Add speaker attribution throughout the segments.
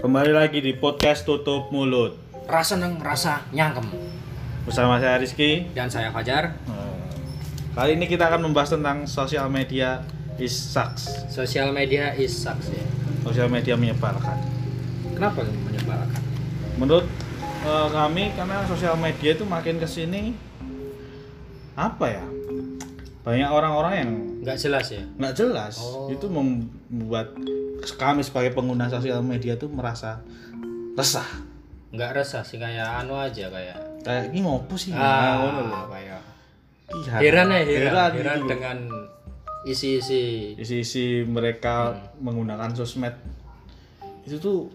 Speaker 1: Kembali lagi di podcast Tutup Mulut
Speaker 2: rasa neng rasa nyangkem
Speaker 1: bersama saya Rizky.
Speaker 2: dan saya Fajar
Speaker 1: Kali ini kita akan membahas tentang sosial media is sucks.
Speaker 2: sosial media is sucks ya
Speaker 1: Sosial media menyebalkan.
Speaker 2: kenapa menyebalkan
Speaker 1: Menurut eh, kami karena sosial media itu makin kesini apa ya? Banyak orang-orang yang
Speaker 2: nggak jelas ya
Speaker 1: nggak jelas
Speaker 2: Oh.
Speaker 1: itu membuat kami sebagai pengguna sosial media itu merasa resah
Speaker 2: nggak resah sih kayak anu aja kayak
Speaker 1: kayak ini ngopo sih Nah, ngono lho.
Speaker 2: ah kayak
Speaker 1: Ih,
Speaker 2: heran ya heran
Speaker 1: gitu
Speaker 2: heran
Speaker 1: lho.
Speaker 2: dengan isi-isi
Speaker 1: di sisi mereka
Speaker 2: Hmm.
Speaker 1: menggunakan sosmed itu tuh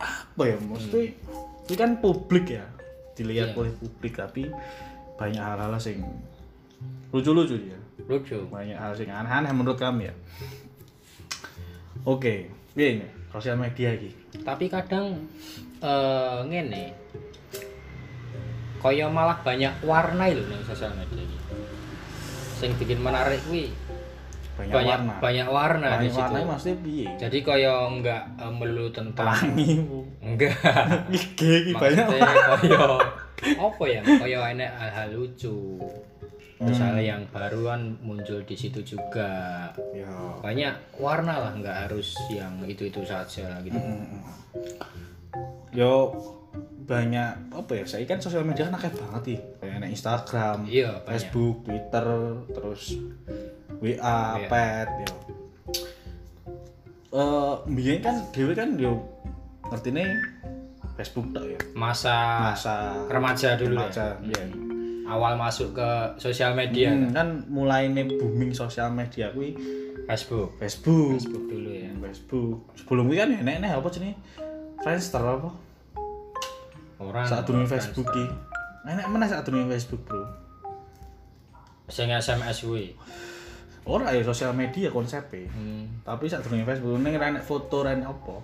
Speaker 1: apa ya mesti itu kan publik ya dilihat
Speaker 2: Hmm. Iya.
Speaker 1: oleh publik tapi banyak hal-hal sing lucu-lucu dia
Speaker 2: lucu
Speaker 1: banyak hal sing aneh-aneh menurut kami ya oke iya ini sosial media lagi
Speaker 2: tapi kadang eh ngene koyo malah banyak warna lho nih sosial media ini sing bikin menarik kuwi
Speaker 1: banyak,
Speaker 2: banyak
Speaker 1: warna
Speaker 2: banyak warna di
Speaker 1: banyak
Speaker 2: situ
Speaker 1: warna maksudnya piye
Speaker 2: jadi koyo nggak eh, melulu tentang
Speaker 1: pelangi
Speaker 2: enggak
Speaker 1: iki iki banyak
Speaker 2: maksudnya koyo apa ya koyo enek hal-hal lucu terus hal
Speaker 1: Hmm.
Speaker 2: yang baruan muncul di situ juga
Speaker 1: ya
Speaker 2: banyak warna lah nggak harus yang itu itu saja gitu
Speaker 1: Hmm. yo banyak apa ya saya kan sosial media kan akeh banget sih kayak enak Instagram
Speaker 2: iya banyak
Speaker 1: Facebook, Twitter, terus WA,
Speaker 2: Iya.
Speaker 1: pet, ya. Eh, biyen kan dhewe kan yo ngertine Facebook tok ya.
Speaker 2: masa
Speaker 1: Masa
Speaker 2: remaja dulu ya
Speaker 1: remaja, iya.
Speaker 2: awal masuk ke sosial media
Speaker 1: Hmm, kan mulainya booming sosial media kuwi Facebook.
Speaker 2: Facebook
Speaker 1: Facebook.
Speaker 2: Facebook dulu ya
Speaker 1: Facebook. Sebelum kuwi kan enek-enek apa jenenge? Friendster apa?
Speaker 2: orang
Speaker 1: Saat dunia Facebook ki. Enek meneh saat dunia Facebook, Bro.
Speaker 2: sing SMS kuwi
Speaker 1: Ora ya sosial media konsepnya.
Speaker 2: hmm.
Speaker 1: tapi saat dulu Facebook ini renek foto renek apa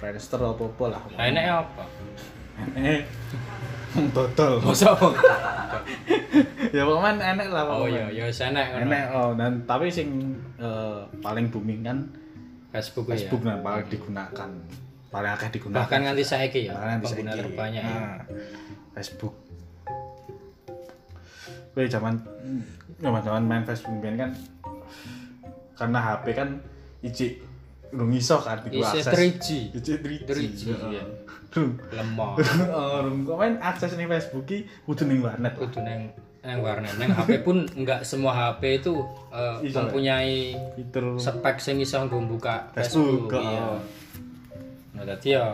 Speaker 1: Friendster apa apa lah
Speaker 2: nah ini apa
Speaker 1: enek Wong dodol
Speaker 2: masa
Speaker 1: ya pokoknya enek lah
Speaker 2: oh
Speaker 1: pokoknya.
Speaker 2: iya iya enak ngono.
Speaker 1: enek oh dan tapi sing eh, paling booming kan
Speaker 2: Facebook kuwi ya
Speaker 1: Facebook dan paling digunakan paling akeh digunakan
Speaker 2: bahkan nanti saiki ya
Speaker 1: Bahkan nanti
Speaker 2: pengguna
Speaker 1: saiki.
Speaker 2: terbanyak ya.
Speaker 1: Nah, Facebook gue zaman zaman zaman main Facebook biyen kan karena HP kan ijik Rung iso kan iku
Speaker 2: Isi
Speaker 1: akses.
Speaker 2: 3G.
Speaker 1: Ijik 3G.
Speaker 2: 3G,
Speaker 1: heeh. Oh,
Speaker 2: iya.
Speaker 1: Rung-
Speaker 2: lemah
Speaker 1: Orang komen akses nih Facebook ki kudu ning warnet.
Speaker 2: kudu neng neng warnet neng HP pun nggak semua HP itu eh,
Speaker 1: Iso, ya?
Speaker 2: mempunyai
Speaker 1: Fitur
Speaker 2: spek sing iso nggo buka
Speaker 1: Facebook,
Speaker 2: Facebook,
Speaker 1: heeh.
Speaker 2: iya. Nah, dadi ya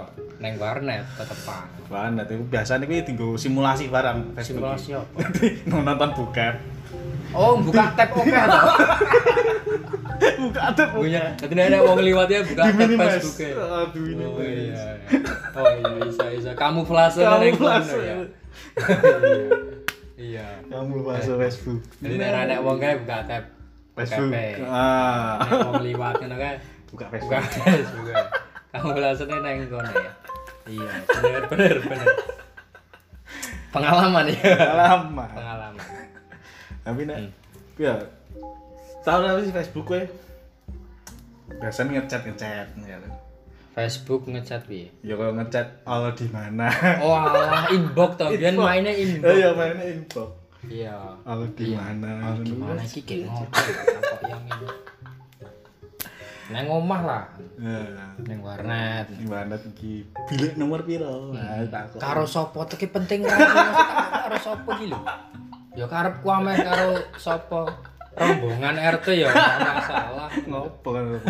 Speaker 2: neng warnet tetepan.
Speaker 1: warnet itu biasanya kuwi dienggo simulasi barang Facebook.
Speaker 2: Simulasi apa?
Speaker 1: Nanti nonton bukan.
Speaker 2: Oh, buka tab oke to.
Speaker 1: Buka ada
Speaker 2: Punya. Dadi nek ana wong liwat ya buka
Speaker 1: Di
Speaker 2: tab
Speaker 1: minimax.
Speaker 2: Facebook. ya.
Speaker 1: Aduh ini.
Speaker 2: Oh
Speaker 1: Mas.
Speaker 2: iya. iya. Oh iya bisa bisa kamu flase
Speaker 1: Kamu flase.
Speaker 2: ya. Iya.
Speaker 1: Kamu masuk Facebook.
Speaker 2: Jadi nek ana wong kae buka tab
Speaker 1: Facebook.
Speaker 2: Kape.
Speaker 1: Ah.
Speaker 2: Nek wong liwat ngono kae
Speaker 1: Buka
Speaker 2: Bukan
Speaker 1: Facebook.
Speaker 2: Facebook. Kamu langsungnya neng kono ya. Iya, bener bener bener. Pengalaman ya.
Speaker 1: Lama.
Speaker 2: Pengalaman.
Speaker 1: Tapi nek
Speaker 2: Hmm.
Speaker 1: ya tahu lah sih Facebook gue. Biasanya ngechat ngechat ya.
Speaker 2: Facebook ngechat piye?
Speaker 1: Ya kalau ngechat Allah di mana?
Speaker 2: Oh, alah inbox to, biyen mainnya
Speaker 1: Eh
Speaker 2: inbox.
Speaker 1: ya mainnya info.
Speaker 2: Iya.
Speaker 1: Allah di mana? Gitu.
Speaker 2: Gimana iki gek ngopo kok yang ini. Neng omah lah,
Speaker 1: Nah,
Speaker 2: neng warnet.
Speaker 1: ini banget iki bilik nomor piro? Nah,
Speaker 2: Hmm.
Speaker 1: takut.
Speaker 2: Karo sopo tuh ki penting kan? Karo sopo ki lho. Ya karepku ameh karo sopo rombongan RT ya nggak masalah.
Speaker 1: ngopo kan aku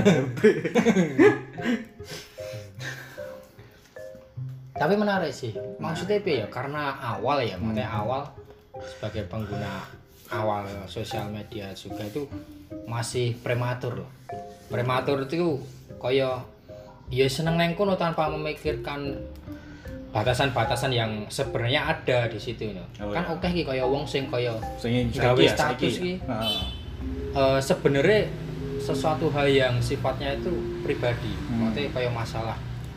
Speaker 2: tapi menarik sih maksudnya apa ya karena awal ya maksudnya
Speaker 1: Hmm.
Speaker 2: awal sebagai pengguna awal sosial media juga itu masih prematur loh prematur itu koyo ya seneng neng kono tanpa memikirkan batasan-batasan yang sebenarnya ada di situ no.
Speaker 1: Oh,
Speaker 2: kan
Speaker 1: iya.
Speaker 2: oke ki koyo wong sing koyo
Speaker 1: Sing
Speaker 2: Gawe ya? status iki.
Speaker 1: Heeh.
Speaker 2: eh, sebenarnya sesuatu hal yang sifatnya itu pribadi maksudnya kayak masalah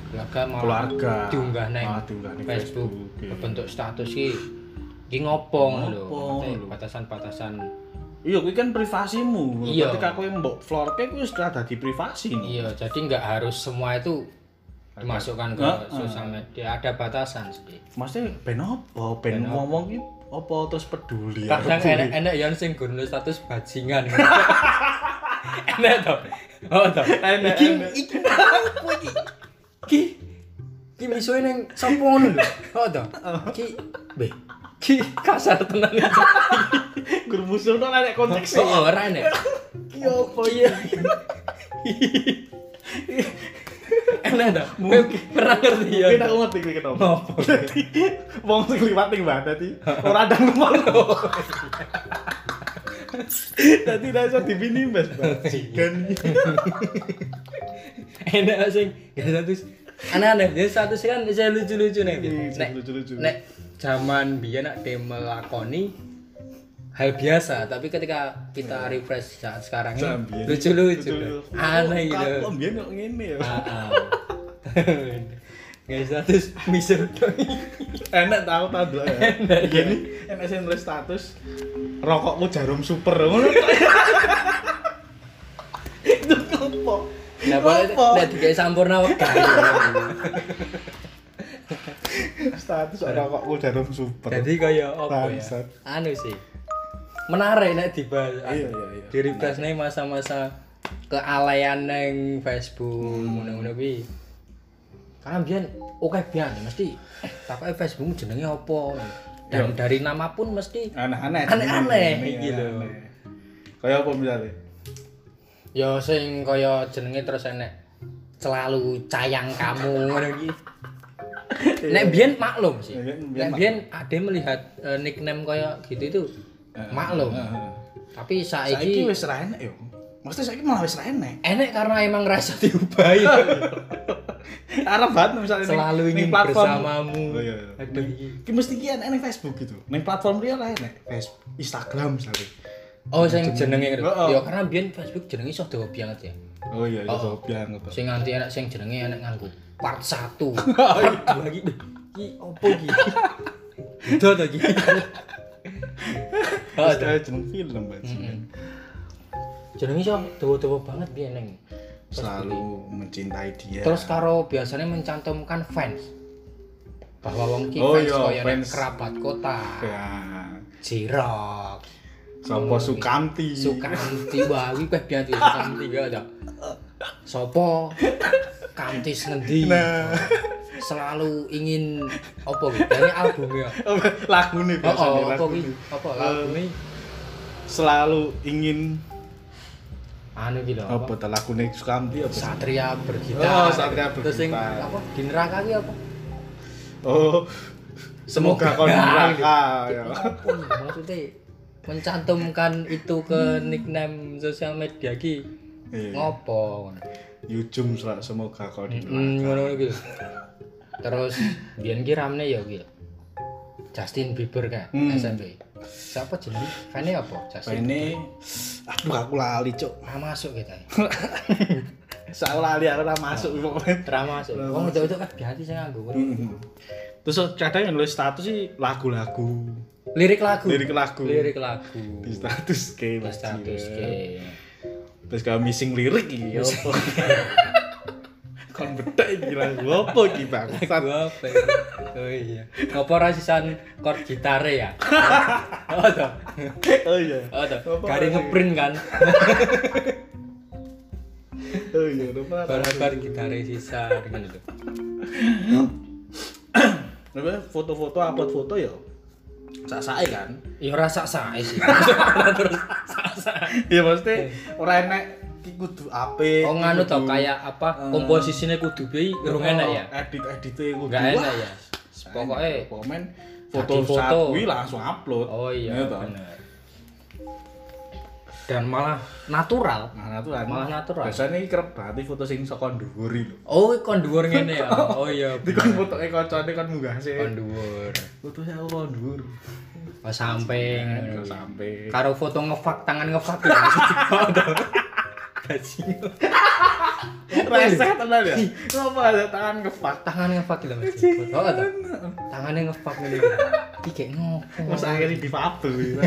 Speaker 2: keluarga malah
Speaker 1: Hmm. Keluarga.
Speaker 2: diunggah neng
Speaker 1: Malah diunggah neng
Speaker 2: Facebook,
Speaker 1: Facebook, iya.
Speaker 2: bentuk status ki ki ngopong lho
Speaker 1: Ngopong
Speaker 2: maksudnya
Speaker 1: lho.
Speaker 2: batasan-batasan
Speaker 1: Iya, kuwi kan privasimu.
Speaker 2: Iya.
Speaker 1: Ketika kowe mbok florke kuwi sudah dadi privasi.
Speaker 2: iya jadi nggak harus semua itu dimasukkan ke
Speaker 1: Heeh.
Speaker 2: sosial media ada batasan sih
Speaker 1: Maksudnya ben opo? Ben
Speaker 2: Ben
Speaker 1: ngomong ki apa terus peduli ya?
Speaker 2: kadang
Speaker 1: Peduli.
Speaker 2: enak enak yang sing gue nulis status bajingan enak toh oh toh
Speaker 1: Enak,
Speaker 2: iki
Speaker 1: enak.
Speaker 2: iki aku iki iki iki misuwe neng sampun lho oh toh iki be iki kasar tenan iki
Speaker 1: Gur musuh nang enek konteksnya.
Speaker 2: oh ora enak
Speaker 1: Ki opo ya?
Speaker 2: enak toh
Speaker 1: Mungkin-
Speaker 2: pernah ngerti ya
Speaker 1: Kita aku ngerti iki kenapa.
Speaker 2: Apa?
Speaker 1: Dadi, Wong sing liwat ning mbah dadi ora ada ngono. Dadi ra iso dibini Mas
Speaker 2: Iya.
Speaker 1: Bajikan.
Speaker 2: enak sing gak status aneh-aneh jadi status kan saya lucu-lucu nih
Speaker 1: Iya,
Speaker 2: nek
Speaker 1: lucu-lucu.
Speaker 2: nek zaman biyen nek dia melakoni hal biasa tapi ketika kita
Speaker 1: Iya.
Speaker 2: refresh saat sekarang ini lucu-lucu Dok. aneh gitu
Speaker 1: Kok mbiyen kok ngene ya.
Speaker 2: Ah, ah. nggak status miser
Speaker 1: enak tau tanduk ya
Speaker 2: Enak,
Speaker 1: iya nih enak sih nulis status rokokmu jarum super ngono itu apa
Speaker 2: Nah, boleh
Speaker 1: Apa?
Speaker 2: nek dikai sampurna wekah.
Speaker 1: status rokokmu jarum super
Speaker 2: Nah, Jadi kaya apa ya?
Speaker 1: Bangsat.
Speaker 2: Anu sih. Menarik nek dibahas.
Speaker 1: iya iya iya
Speaker 2: di refresh nih masa-masa kealayan neng Facebook
Speaker 1: Hmm.
Speaker 2: ngono-ngono kuwi. Karena biyen oke biyen mesti eh takoke Facebook jenenge apa. Dan dari nama pun mesti
Speaker 1: aneh-aneh
Speaker 2: Aneh-aneh, iki lho.
Speaker 1: gitu kayak apa misalnya
Speaker 2: ya sing kaya jenenge terus enek selalu cayang kamu ngono iki. Nek biyen maklum sih.
Speaker 1: Nek Iya, biyen- biyen
Speaker 2: Nek biyen ade melihat eh, nickname kaya gitu itu maklum.
Speaker 1: heeh.
Speaker 2: Tapi
Speaker 1: saiki
Speaker 2: saiki
Speaker 1: wis ra enak yo maksudnya saiki malah wis ra enak
Speaker 2: enek karena emang rasa diubahi.
Speaker 1: arep banget misalnya ning-
Speaker 2: selalu
Speaker 1: ning
Speaker 2: ingin
Speaker 1: platform.
Speaker 2: bersamamu.
Speaker 1: Oh, iya, iya.
Speaker 2: Aduh, iki.
Speaker 1: Ki mesti ki enak ning Facebook gitu. Ning platform dia lah enak. Facebook, Instagram misalnya.
Speaker 2: Oh, sing jenenge
Speaker 1: Oh, oh.
Speaker 2: ya karena biyen Facebook jenenge iso dawa banget ya.
Speaker 1: Oh iya, itu
Speaker 2: Oh.
Speaker 1: hobi anget.
Speaker 2: Sing nganti enak sing jenenge enak nganggo part 1, part 2 iki. Iki opo iki? Udah to iki. Oh,
Speaker 1: Terus
Speaker 2: ada.
Speaker 1: ada jeneng film Mbak.
Speaker 2: Jenenge iso dawa-dawa banget biyen neng.
Speaker 1: Selalu mencintai dia.
Speaker 2: Terus karo biasanya mencantumkan fans. Bahwa wong ki
Speaker 1: Oh,
Speaker 2: fans
Speaker 1: iya,
Speaker 2: koyo nek
Speaker 1: fans.
Speaker 2: kerabat kota,
Speaker 1: ya
Speaker 2: jirok,
Speaker 1: sapa Sukamti.
Speaker 2: Sukanti wah iki peh biyen Sukanti ya ta. Sopo? Kantis ngendi?
Speaker 1: Nah.
Speaker 2: Selalu ingin apa gitu? Dari albumnya.
Speaker 1: lagu nih
Speaker 2: Oh, oh,
Speaker 1: biasanya
Speaker 2: apa
Speaker 1: Iya, lagu gitu. Eh,
Speaker 2: ki? Apa albumnya?
Speaker 1: Selalu ingin
Speaker 2: Anu gitu
Speaker 1: apa
Speaker 2: apa?
Speaker 1: ta lagu nih Sukamti apa? sih?
Speaker 2: Satria bergitar.
Speaker 1: Oh, Satria
Speaker 2: Terus sing
Speaker 1: Bergitar.
Speaker 2: apa? Di neraka ki apa?
Speaker 1: Oh. Semoga kau
Speaker 2: Nah,
Speaker 1: neraka ya.
Speaker 2: Apa ya? maksudnya? Mencantumkan itu ke nickname sosial media ki.
Speaker 1: Iya.
Speaker 2: Ngopo?
Speaker 1: Yujum sel- semoga kau di
Speaker 2: Hmm,
Speaker 1: neraka.
Speaker 2: ngono gitu. Terus biyen ki ramne ya kuwi. Justin Bieber kan
Speaker 1: Hmm.
Speaker 2: SMP. Siapa jenenge? Fane apa? Justin.
Speaker 1: Ini aduh aku lali, Cuk.
Speaker 2: Ora masuk kita. ya.
Speaker 1: Saya lali aku ora masuk
Speaker 2: Ah.
Speaker 1: pokoknya.
Speaker 2: Ora masuk. Wong itu kan ganti sing nganggo.
Speaker 1: Mm-mm. Terus kadang yang nulis status sih lagu-lagu.
Speaker 2: Lirik lagu.
Speaker 1: Lirik lagu.
Speaker 2: Lirik lagu.
Speaker 1: Di status ke
Speaker 2: Terus status ke.
Speaker 1: Terus kalau missing lirik iki ya
Speaker 2: Iya.
Speaker 1: apa? Kon bedhek iki lagu apa iki bangsat.
Speaker 2: Gua apa? ya? Oh iya. Ngopo ora sisan chord gitare ya? Oh toh.
Speaker 1: Oh iya.
Speaker 2: Oh toh.
Speaker 1: Apa lagi?
Speaker 2: Gari ngeprint kan.
Speaker 1: Oh iya, lupa.
Speaker 2: Baru-baru gitare sisa gitu.
Speaker 1: Apa foto-foto upload foto ya. Sasae kan.
Speaker 2: Ya ora sak-sake sih. Terus sak-sake.
Speaker 1: Iya maksudnya ora enek iki kudu apik.
Speaker 2: Eh. Oh
Speaker 1: iki
Speaker 2: nganu to
Speaker 1: kudu- eh,
Speaker 2: kayak apa komposisinya kudu piye urung enak ya.
Speaker 1: Edit-edite kudu.
Speaker 2: Enggak enak ya.
Speaker 1: Wah,
Speaker 2: Pokoknya
Speaker 1: komen
Speaker 2: Jadi
Speaker 1: foto
Speaker 2: foto.
Speaker 1: saat kuwi langsung upload.
Speaker 2: oh iya
Speaker 1: Iya toh?
Speaker 2: bener. Dan malah natural.
Speaker 1: Nah, natural.
Speaker 2: Malah natural.
Speaker 1: Biasanya ini kerep banget foto sing saka dhuwur iki lho.
Speaker 2: Oh kon dhuwur ngene ya. Oh iya.
Speaker 1: Iki kon fotoke kancane kon munggah sih.
Speaker 2: Kon dhuwur.
Speaker 1: Foto saya aku kon dhuwur.
Speaker 2: Oh samping.
Speaker 1: Enggak Kan sampai.
Speaker 2: Karo foto ngefak tangan gitu. ngefak. Bajingan.
Speaker 1: Reset tenan ya. Kenapa ada tangan kepak?
Speaker 2: Tangan ngefak lho Mas. Oh to. Tangane ngefak ngene. Iki kayak gitu. ngopo.
Speaker 1: Mas akhirnya difabel. ya.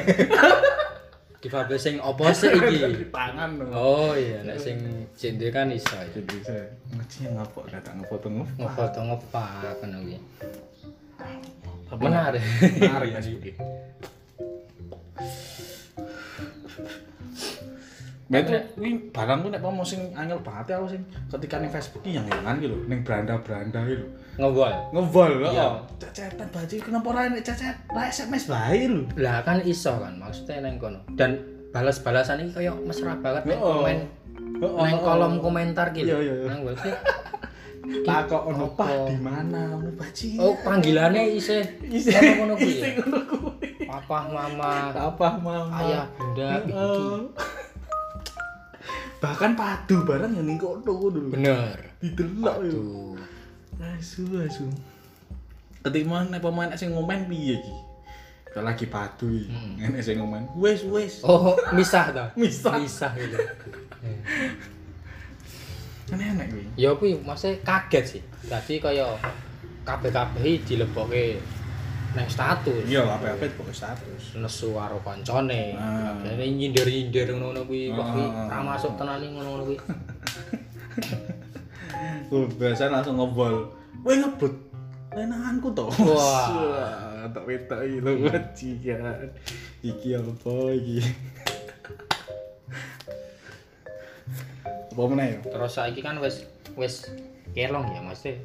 Speaker 2: difabel sing opo sih iki?
Speaker 1: di tangan loh.
Speaker 2: Oh iya, nek sing jende kan iso ya.
Speaker 1: Jadi saya ngaji ngapok datang ngefoto nge.
Speaker 2: Ngefoto ngepak ngono kuwi.
Speaker 1: Tapi
Speaker 2: Menarik.
Speaker 1: menarik ya sih. Mbak Nah, itu, wih, barang tuh nek mau sing angel banget ya aku sing ketika ning Facebook yang hilangan gitu, ning beranda-beranda gitu.
Speaker 2: Ngewol.
Speaker 1: Ngeval
Speaker 2: Iya.
Speaker 1: lah. Cecetan baju kenapa ora nek cecet, ora SMS bae lho.
Speaker 2: Lah kan iso kan maksudnya neng kono. Dan balas-balasan iki kayak mesra banget nek
Speaker 1: Oh.
Speaker 2: komen
Speaker 1: Oh,
Speaker 2: neng
Speaker 1: oh,
Speaker 2: kolom
Speaker 1: oh.
Speaker 2: komentar gitu.
Speaker 1: Iya, iya, iya.
Speaker 2: Nang website.
Speaker 1: takok ono
Speaker 2: Apa?
Speaker 1: pah di mana ono baji.
Speaker 2: Oh, panggilannya isih
Speaker 1: Isi
Speaker 2: ngono-ngono kuwi
Speaker 1: isi
Speaker 2: ya.
Speaker 1: ngono kuwi.
Speaker 2: Papa, mama,
Speaker 1: Apa mau?
Speaker 2: ayah, bunda, Ah, iki.
Speaker 1: Heeh. Bahkan padu barang yang ning kono dulu.
Speaker 2: Bener.
Speaker 1: Didelok yo.
Speaker 2: Aduh.
Speaker 1: Asu asu. Ketima nek pemain nek sing ngomen piye iki? Kalau lagi padu iki. Nek sing ngomen, wis wis.
Speaker 2: Hmm. Oh, misah ta?
Speaker 1: Misah.
Speaker 2: Misah gitu. Eh.
Speaker 1: Kan enak kuwi.
Speaker 2: ya aku maksudnya kaget sih. Tadi kaya kabeh-kabeh dilebokke nang status.
Speaker 1: Iya, apa-apa pokoknya status.
Speaker 2: nesu karo koncone.
Speaker 1: Ah.
Speaker 2: Dene nyindir-nyindir ngono-ngono kuwi kok kuwi
Speaker 1: Ah.
Speaker 2: ra masuk tenan iki ngono-ngono kuwi.
Speaker 1: Gue biasa langsung ngebol. Weh ngebut. Lenanganku to.
Speaker 2: Wah.
Speaker 1: tak wetok iki lho bajingan. Iki apa iki? Apa meneh ya?
Speaker 2: Terus saiki kan wis wis kelong ya maksudnya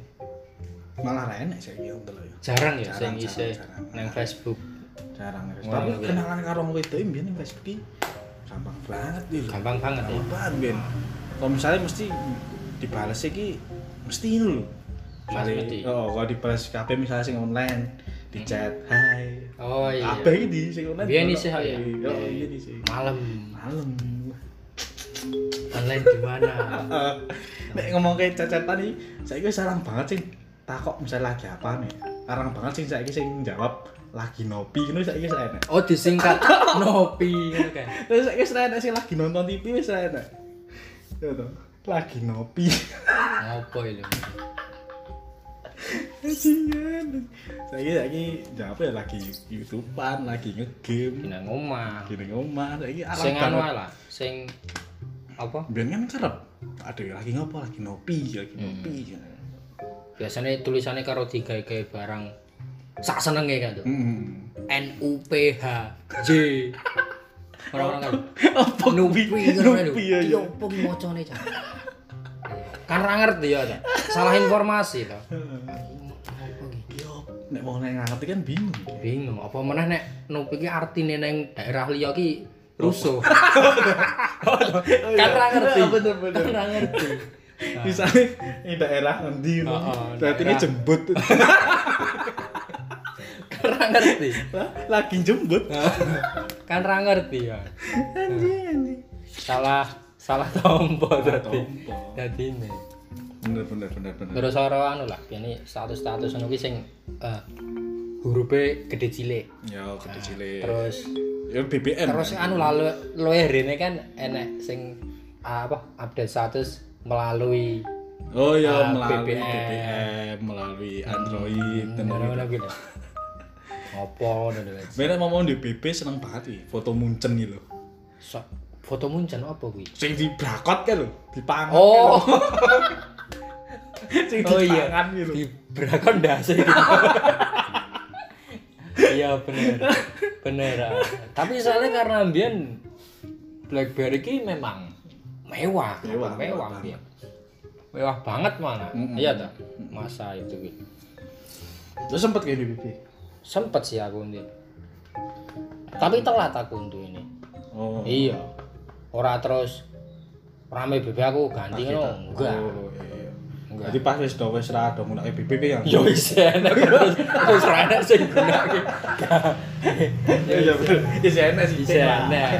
Speaker 1: Malah ra enak saiki aku ndelok ya.
Speaker 2: jarang ya sing
Speaker 1: Jarang,
Speaker 2: isih
Speaker 1: jarang, jarang.
Speaker 2: nang Facebook.
Speaker 1: Jarang ya.
Speaker 2: Wah,
Speaker 1: Tapi
Speaker 2: iya.
Speaker 1: kenalan karo wong wedok iki mbiyen ning Facebook iki gampang banget iki lho.
Speaker 2: Gampang banget ya.
Speaker 1: Gampang banget mbiyen. Kalau misalnya mesti dibales iki mesti ini lho.
Speaker 2: Mas
Speaker 1: Misalnya-
Speaker 2: Medi.
Speaker 1: Oh, kalau dibales kabeh misalnya sing online, di chat, hai,
Speaker 2: Oh iya.
Speaker 1: Apa ini di sing online?
Speaker 2: Biyen isih kok ya?
Speaker 1: Iya, iya di sing.
Speaker 2: Malam
Speaker 1: Malam.
Speaker 2: online di mana?
Speaker 1: Heeh. Nek ngomong ke cacatan iki, saiki wis sarang banget sing takok misalnya lagi apa nih. Sarang banget sing saiki sing jawab lagi nopi ngono saiki wis enak.
Speaker 2: Oh disingkat nopi ngono kan.
Speaker 1: Terus saiki wis enak sing lagi nonton TV wis enak. Ya toh. Lagi nopi.
Speaker 2: Ngopo lho.
Speaker 1: Kasihan. Saiki saiki jawab ya lagi YouTubean, lagi nge-game,
Speaker 2: Dina omah.
Speaker 1: gini ngomah, saiki arang
Speaker 2: Sing
Speaker 1: banget.
Speaker 2: anu ae lah, sing apa?
Speaker 1: Ben kan kerep. Aduh, lagi ngopo? Lagi nopi, lagi
Speaker 2: Hmm.
Speaker 1: nopi. ya.
Speaker 2: Biasanya tulisannya karo digawe-gawe barang sak senenge kan tuh.
Speaker 1: Hmm.
Speaker 2: N U P H J. Orang-orang kan
Speaker 1: Apa
Speaker 2: nupi
Speaker 1: Nupi ya.
Speaker 2: Yo pun Iya, mocone Cak. Kan ra ngerti ya Cak. Salah informasi to.
Speaker 1: Yo, Iya. nek wong nek ngerti kan bingung.
Speaker 2: Bingung apa meneh nek nupi ki artine neng daerah liya ki rusuh.
Speaker 1: Iya.
Speaker 2: Kan ra ngerti.
Speaker 1: Oh, bener, bener.
Speaker 2: Kan ra ngerti.
Speaker 1: Misalnya ini Nah. daerah ngendi
Speaker 2: Oh, oh,
Speaker 1: ngono. Berarti ini
Speaker 2: daerah.
Speaker 1: jembut.
Speaker 2: Kan ra ngerti.
Speaker 1: Lah, Lagi jembut.
Speaker 2: Kan ra ngerti ya.
Speaker 1: Anjing anjing.
Speaker 2: Salah salah Hmm. tombo dadi.
Speaker 1: tombo.
Speaker 2: Dadi ini.
Speaker 1: Bener bener bener bener.
Speaker 2: Terus ora anu lah, biyen status-status ngono ki sing eh hurufe gede cilik.
Speaker 1: Ya gede cilik.
Speaker 2: Terus
Speaker 1: Ya BBM.
Speaker 2: terus
Speaker 1: kan.
Speaker 2: anu lalu luwe rene kan enek sing ah, apa update status melalui
Speaker 1: Oh ya
Speaker 2: Ah,
Speaker 1: melalui
Speaker 2: BBM.
Speaker 1: BBM, melalui Android dan lain-lain.
Speaker 2: ngono gitu. Opo ngono lho.
Speaker 1: Bener mau di BB seneng banget iki, foto muncen iki lho.
Speaker 2: So, foto muncul apa kuwi?
Speaker 1: Sing di brakot kan lho, di pangan.
Speaker 2: Oh,
Speaker 1: sing
Speaker 2: oh
Speaker 1: di
Speaker 2: iya.
Speaker 1: pangan iki lho.
Speaker 2: Di berakon ndase gitu. Iya bener. Bener. ah. Tapi soalnya karena mbiyen BlackBerry ki memang mewah,
Speaker 1: Mewah,
Speaker 2: mewah,
Speaker 1: mewah
Speaker 2: mewah, mewah, mewah banget mana?
Speaker 1: Mm-mm.
Speaker 2: Iya tak? Masa itu gitu.
Speaker 1: Terus sempet kayak di BB.
Speaker 2: sempet sih aku untuk tapi telat aku untuk ini
Speaker 1: Oh.
Speaker 2: iya ora terus rame bebe aku ganti ngono enggak
Speaker 1: Oh, iya, iya.
Speaker 2: Enggak.
Speaker 1: Jadi pas wis do wis ra do nggunakne BB ki ya.
Speaker 2: yo wis enak terus terus ra enak sing gunake
Speaker 1: Iya, bener. Isi enak sih.
Speaker 2: wis enak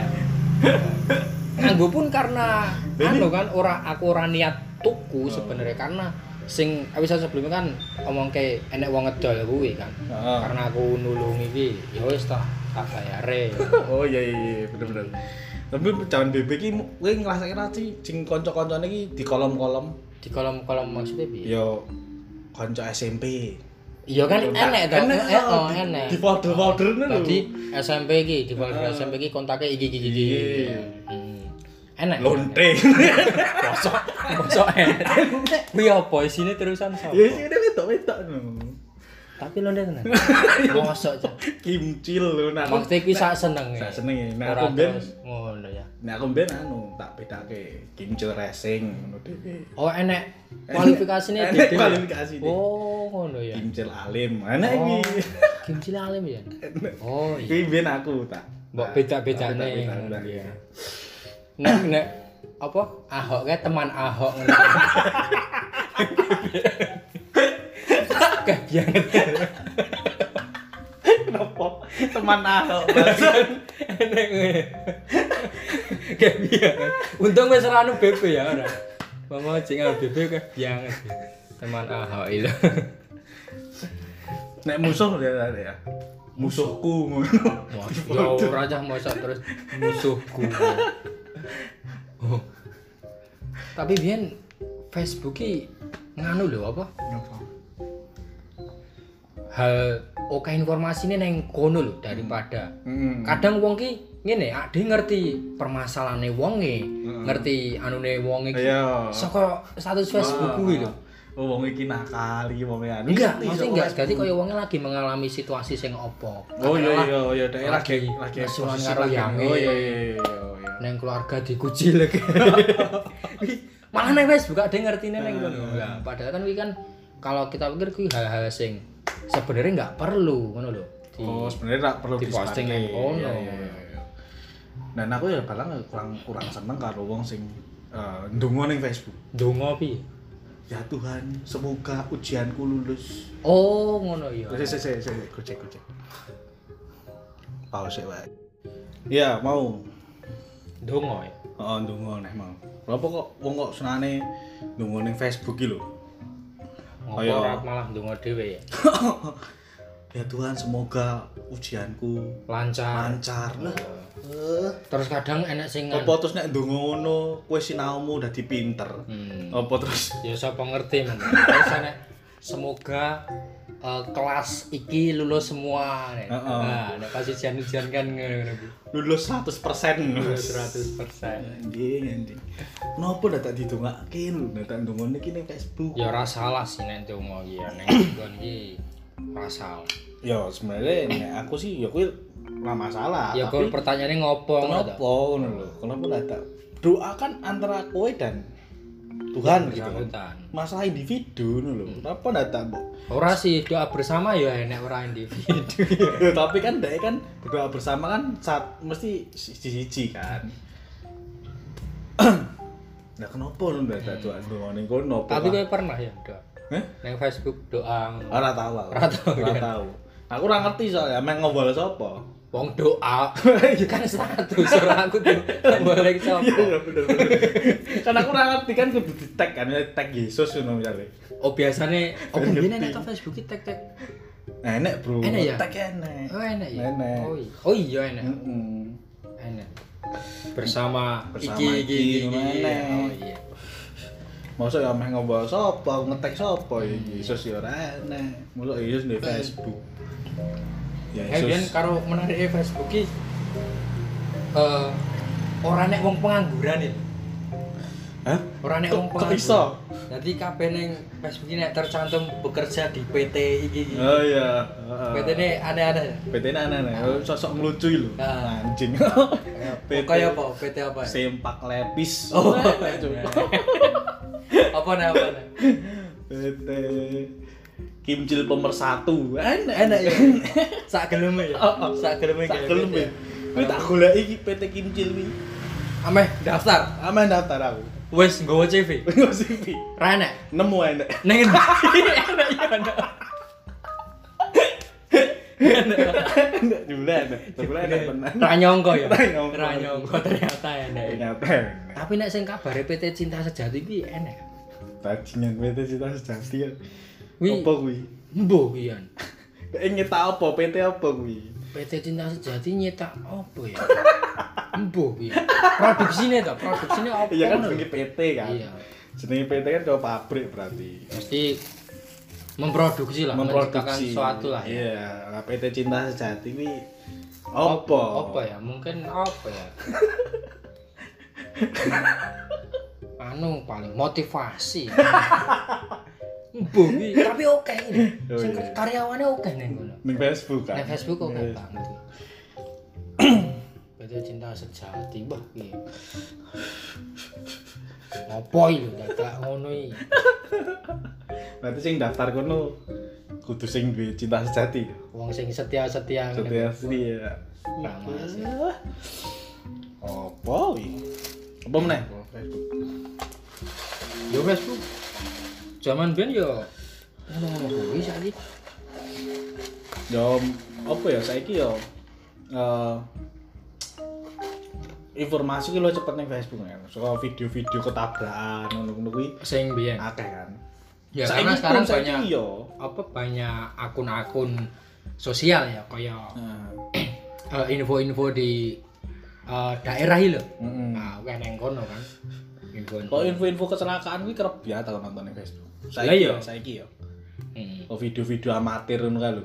Speaker 2: nganggo pun karena anu kan ora aku ora niat tuku sebenarnya karena sing episode sebelumnya kan omong ke enek wong ngedol kuwi kan
Speaker 1: Heeh.
Speaker 2: karena aku nulungi iki ya wis tak tak bayare
Speaker 1: Oh iya iya iya, bener bener. Tapi jaman BB ki kowe ngrasakne ra sih sing kanca-kancane ki di kolom-kolom
Speaker 2: di kolom-kolom maksudnya piye
Speaker 1: ya kanca SMP.
Speaker 2: Iya kan
Speaker 1: Kontak.
Speaker 2: enek to.
Speaker 1: Enek,
Speaker 2: Eh,
Speaker 1: oh,
Speaker 2: oh,
Speaker 1: di-
Speaker 2: enek.
Speaker 1: di folder-folder ini lho.
Speaker 2: Tadi SMP iki, di folder
Speaker 1: Heeh.
Speaker 2: SMP iki kontaknya iki iki iki.
Speaker 1: Iya.
Speaker 2: Hmm. Enek.
Speaker 1: lonte
Speaker 2: Bosok, bosok enek. Kuwi apa isine terusan sapa?
Speaker 1: ya sih udah betok betok
Speaker 2: Tapi lonte tenan. Bosok. Cak.
Speaker 1: kimcil lho nah aku-
Speaker 2: Maksudnya kuwi sak seneng. ya.
Speaker 1: sak senenge nah
Speaker 2: Ora
Speaker 1: aku ben
Speaker 2: terus ngono ya.
Speaker 1: nah aku ben anu tak bedake kimcil racing ngono dhewe
Speaker 2: Oh enek
Speaker 1: Enek
Speaker 2: kualifikasinya di- di-
Speaker 1: kualifikasine.
Speaker 2: Oh ngono ya.
Speaker 1: kimcil alim ana
Speaker 2: Oh,
Speaker 1: iki
Speaker 2: Kim Cili Alim ya. Oh iya.
Speaker 1: Kuwi ben aku tak.
Speaker 2: Mbok beda-bedane.
Speaker 1: Tak beda-bedane.
Speaker 2: Iya. Nek nek apa Ahok kayak teman Ahok ngono. Kayak banget.
Speaker 1: Kenapa? Teman Ahok.
Speaker 2: Enek ngene. Kayak banget. Untung wis ora anu BB ya ora. Mama cing anu BB kayak banget. Teman Ahok itu.
Speaker 1: Nek musuh ya ada ya. Musuhku ngono.
Speaker 2: Ya ora cah mosok terus musuhku. Oh. Tapi biyen Facebook ki nganu lho apa?
Speaker 1: Kenapa?
Speaker 2: Hal oke informasinya neng kono lho daripada
Speaker 1: Hmm.
Speaker 2: kadang wong ki ngene ade ngerti permasalahane wonge,
Speaker 1: Hmm.
Speaker 2: ngerti anune wonge ki.
Speaker 1: Iya.
Speaker 2: Saka status
Speaker 1: Ah.
Speaker 2: Facebook kuwi lho.
Speaker 1: Oh wong iki nakal iki wong anu.
Speaker 2: gitu. Enggak,
Speaker 1: Ngerti,
Speaker 2: maksudnya
Speaker 1: sok
Speaker 2: enggak.
Speaker 1: Facebook.
Speaker 2: Jadi kaya wonge lagi mengalami situasi sing opo.
Speaker 1: Oh iya
Speaker 2: Katakanlah,
Speaker 1: iya iya dek lagi
Speaker 2: Lagi
Speaker 1: lagi
Speaker 2: musuhan
Speaker 1: posisi
Speaker 2: karo
Speaker 1: lagi.
Speaker 2: yange.
Speaker 1: Oh iya iya iya, iya.
Speaker 2: neng keluarga dikucil lagi malah neng wes buka dia ngerti neng kono
Speaker 1: Nah.
Speaker 2: Nah, padahal kan wi kan kalau kita pikir kuwi hal-hal sing sebenarnya nggak perlu ngono lho Di-
Speaker 1: Oh sebenarnya tak perlu
Speaker 2: di posting
Speaker 1: disebarin.
Speaker 2: yang kono.
Speaker 1: Iya, iya, iya, iya. Dan aku ya kadang kurang kurang seneng karo wong sing eh, ndonga ning Facebook.
Speaker 2: dongo pi
Speaker 1: Ya Tuhan, semoga ujianku lulus.
Speaker 2: oh ngono ya
Speaker 1: Sik sik sik sik gojek gojek. Pause wae. Iya, mau.
Speaker 2: dongo ya
Speaker 1: Heeh, ndonga neh mau. Kenapa kok wong kok senane ndonga ning Facebook iki lho?
Speaker 2: ngopo
Speaker 1: Ayo.
Speaker 2: ora malah dongo dhewe ya
Speaker 1: ya Tuhan, semoga ujianku
Speaker 2: lancar
Speaker 1: lancar lah.
Speaker 2: Eh,
Speaker 1: Eh,
Speaker 2: terus kadang enek sing
Speaker 1: apa terus nek ndonga ngono, kowe sinaumu dadi pinter.
Speaker 2: Hmm.
Speaker 1: Apa terus
Speaker 2: ya sapa ngerti men terus enek semoga eh, kelas iki lulus semua nek
Speaker 1: Heeh.
Speaker 2: nah nek pas ujian-ujian kan ngono kuwi.
Speaker 1: lulus 100%? Lulus
Speaker 2: persen.
Speaker 1: Anjing, anjing. Kenapa dah tak didongake lho, dah tak ndongone iki ning Facebook.
Speaker 2: Ya ora salah sih nek dongo iki ya nek nggon iki ora salah.
Speaker 1: Ya sebenarnya nek aku sih ya kuwi ora masalah,
Speaker 2: Ya
Speaker 1: Ah, tapi
Speaker 2: kok pertanyaannya ngopo ngono
Speaker 1: kenapa
Speaker 2: ta?
Speaker 1: ngono lho? Kenapa dah tak doakan antara kowe dan
Speaker 2: Ya,
Speaker 1: Tuhan gitu kan.
Speaker 2: Bersangkutan.
Speaker 1: Masalah individu ngono lho.
Speaker 2: Hmm.
Speaker 1: Kenapa dah tak mbok
Speaker 2: Ora sih doa bersama ya enek ora individu.
Speaker 1: Ya, tapi kan dek kan berdoa bersama kan saat mesti siji-siji kan. nah kenapa lu ndak tak doa doa ning kono?
Speaker 2: Tapi
Speaker 1: kan
Speaker 2: kowe pernah ya doa?
Speaker 1: Heh?
Speaker 2: Nang Facebook doa ngono.
Speaker 1: Ora tahu aku.
Speaker 2: Ora tahu,
Speaker 1: Ora
Speaker 2: kan?
Speaker 1: tahu. Aku ora ngerti soalnya main ngobrol sapa.
Speaker 2: wong doa kan status ora aku tuh boleh
Speaker 1: Iya
Speaker 2: sapa.
Speaker 1: iya bener bener. kan aku ora ngerti kan kudu di-tag kan ya, tag Yesus ngono misalnya.
Speaker 2: Oh biasane oh
Speaker 1: Ngerti.
Speaker 2: bendine nek tau Facebook iki tek-tek.
Speaker 1: Nah, Enek, Bro.
Speaker 2: Enak ya?
Speaker 1: Tag enek.
Speaker 2: Oh enek ya.
Speaker 1: Enek. Hmm.
Speaker 2: Oh iya. Oh iya enek.
Speaker 1: Heeh.
Speaker 2: Enek. Bersama,
Speaker 1: Bersama
Speaker 2: iki iki
Speaker 1: iki,
Speaker 2: iki.
Speaker 1: ngono enek.
Speaker 2: Oh iya.
Speaker 1: Masa ya meh ngobrol sapa, ngetek sapa ya
Speaker 2: Hmm.
Speaker 1: Yesus ya ora enek. Mosok Yesus di Facebook. Ya
Speaker 2: Eh, biyen karo menarik Facebook iki eh ora nek wong pengangguran ya.
Speaker 1: Hah?
Speaker 2: Ora nek
Speaker 1: Kok-
Speaker 2: wong
Speaker 1: kok
Speaker 2: pengangguran.
Speaker 1: iso?
Speaker 2: Dadi kabeh ning Facebook iki nek tercantum bekerja di PT iki iki.
Speaker 1: Oh iya.
Speaker 2: PT ini aneh-aneh.
Speaker 1: PT ini aneh-aneh. Oh, Sosok ngelucu lho.
Speaker 2: Ah.
Speaker 1: Anjing.
Speaker 2: PT
Speaker 1: PT
Speaker 2: kaya apa? PT apa? ya?
Speaker 1: sempak lepis.
Speaker 2: Oh.
Speaker 1: Enak, cuk.
Speaker 2: Apa nih apa nih?
Speaker 1: PT Kimcil pemersatu. Enak
Speaker 2: Enak ya. Sak geleme ya.
Speaker 1: Oh, oh.
Speaker 2: Sak geleme
Speaker 1: Tak
Speaker 2: kayak gitu
Speaker 1: gelem
Speaker 2: PT.
Speaker 1: ya. Kuwi tak golek iki PT Kimcil kuwi.
Speaker 2: Ameh daftar.
Speaker 1: Ame daftar aku.
Speaker 2: Wes nggowo CV.
Speaker 1: Nggak CV.
Speaker 2: Ra enak.
Speaker 1: Nemu enak.
Speaker 2: Neng enak
Speaker 1: iya,
Speaker 2: ya enak. Enak.
Speaker 1: Enak juga enak. Juga enak tenan.
Speaker 2: Ra nyongko ya.
Speaker 1: Ra nyongko.
Speaker 2: Ra nyongko ternyata enak.
Speaker 1: Ternyata enak.
Speaker 2: Tapi nek sing kabare PT Cinta Sejati kuwi enak.
Speaker 1: Bajingan PT cita sejati ya.
Speaker 2: Wi.
Speaker 1: Apa kuwi?
Speaker 2: Mbo kuwi an.
Speaker 1: Eh nyetak apa PT apa kuwi?
Speaker 2: PT Cinta Sejati nyetak opo ya? Mbo kuwi. Produksine to, produksine opo?
Speaker 1: Iya kan
Speaker 2: ngono
Speaker 1: jenenge PT kan.
Speaker 2: Iya.
Speaker 1: Jenenge PT kan kalau pabrik berarti.
Speaker 2: Mesti memproduksi lah menciptakan
Speaker 1: memproduksi
Speaker 2: suatu lah ya
Speaker 1: Iya, lah, PT Cinta Sejati ini
Speaker 2: Apa?
Speaker 1: opo?
Speaker 2: Apa ya? Mungkin apa ya? anu paling motivasi. Bumi, tapi oke ini.
Speaker 1: Oh,
Speaker 2: Sing
Speaker 1: iya.
Speaker 2: karyawannya oke nih ngono.
Speaker 1: Ning Facebook kan.
Speaker 2: Nah, Facebook oke
Speaker 1: Yes.
Speaker 2: banget. Beda cinta sejati bah iki. Ngopo iki dadak ngono iki?
Speaker 1: Berarti sing daftar kono kudu sing duwe cinta sejati.
Speaker 2: Wong sing setia-setia ngene.
Speaker 1: Setia setia.
Speaker 2: Nah, Mas.
Speaker 1: Opo iki? Apa meneh? Facebook.
Speaker 2: Yo Facebook. Zaman ben yo ngono-ngono kuwi saiki.
Speaker 1: Yo opo ya saiki yo eh informasi ki lo cepet ning Facebook kan. Soal video-video ketabrakan ngono-ngono kuwi
Speaker 2: Sing biyen.
Speaker 1: akeh kan.
Speaker 2: Ya
Speaker 1: Saiki
Speaker 2: karena
Speaker 1: pun
Speaker 2: sekarang
Speaker 1: saiki ya,
Speaker 2: banyak
Speaker 1: yo.
Speaker 2: apa banyak akun-akun sosial ya kayak
Speaker 1: Nah,
Speaker 2: eh, info-info di eh, daerah itu.
Speaker 1: mm-mm.
Speaker 2: Nah, kan yang kono kan. Info-info.
Speaker 1: Kok info-info kecelakaan kuwi kerep ya tau nonton ning Facebook.
Speaker 2: Lah
Speaker 1: Saiki
Speaker 2: iya.
Speaker 1: yo, saiki ya. yo.
Speaker 2: Hmm.
Speaker 1: Kok Oh, video-video amatir ngono kae lho.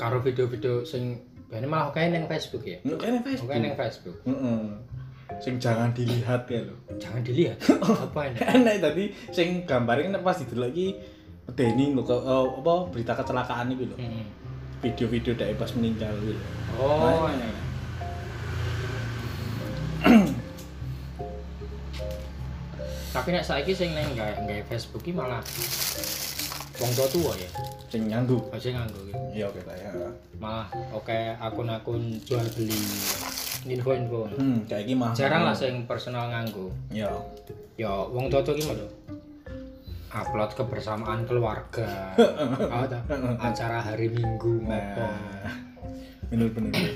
Speaker 2: Karo video-video sing biasanya malah kayak yang Facebook ya.
Speaker 1: Ngono kae ning Facebook.
Speaker 2: Bukan yang Facebook.
Speaker 1: Heeh. Sing jangan dilihat kae lho.
Speaker 2: Jangan dilihat. apa ini?
Speaker 1: Enak tadi sing gambare kan pas didelok iki medeni lho kok eh, apa berita kecelakaan iki lho.
Speaker 2: Hmm.
Speaker 1: Video-video dari pas meninggal iki lho. Nah,
Speaker 2: Oh, ini. Tapi nek saiki sing neng nggak nggak Facebook ini malah wong tua tua ya.
Speaker 1: Sing nyanggu.
Speaker 2: Pasti nganggo gitu.
Speaker 1: Iya oke ta ya.
Speaker 2: malah oke akun-akun jual beli info-info
Speaker 1: Hmm, kayak iki mah.
Speaker 2: jarang lah sing personal nganggo
Speaker 1: Iya.
Speaker 2: ya wong toto ki lho upload kebersamaan keluarga Apa ta? acara hari minggu ngopo
Speaker 1: Nah. Bener-bener.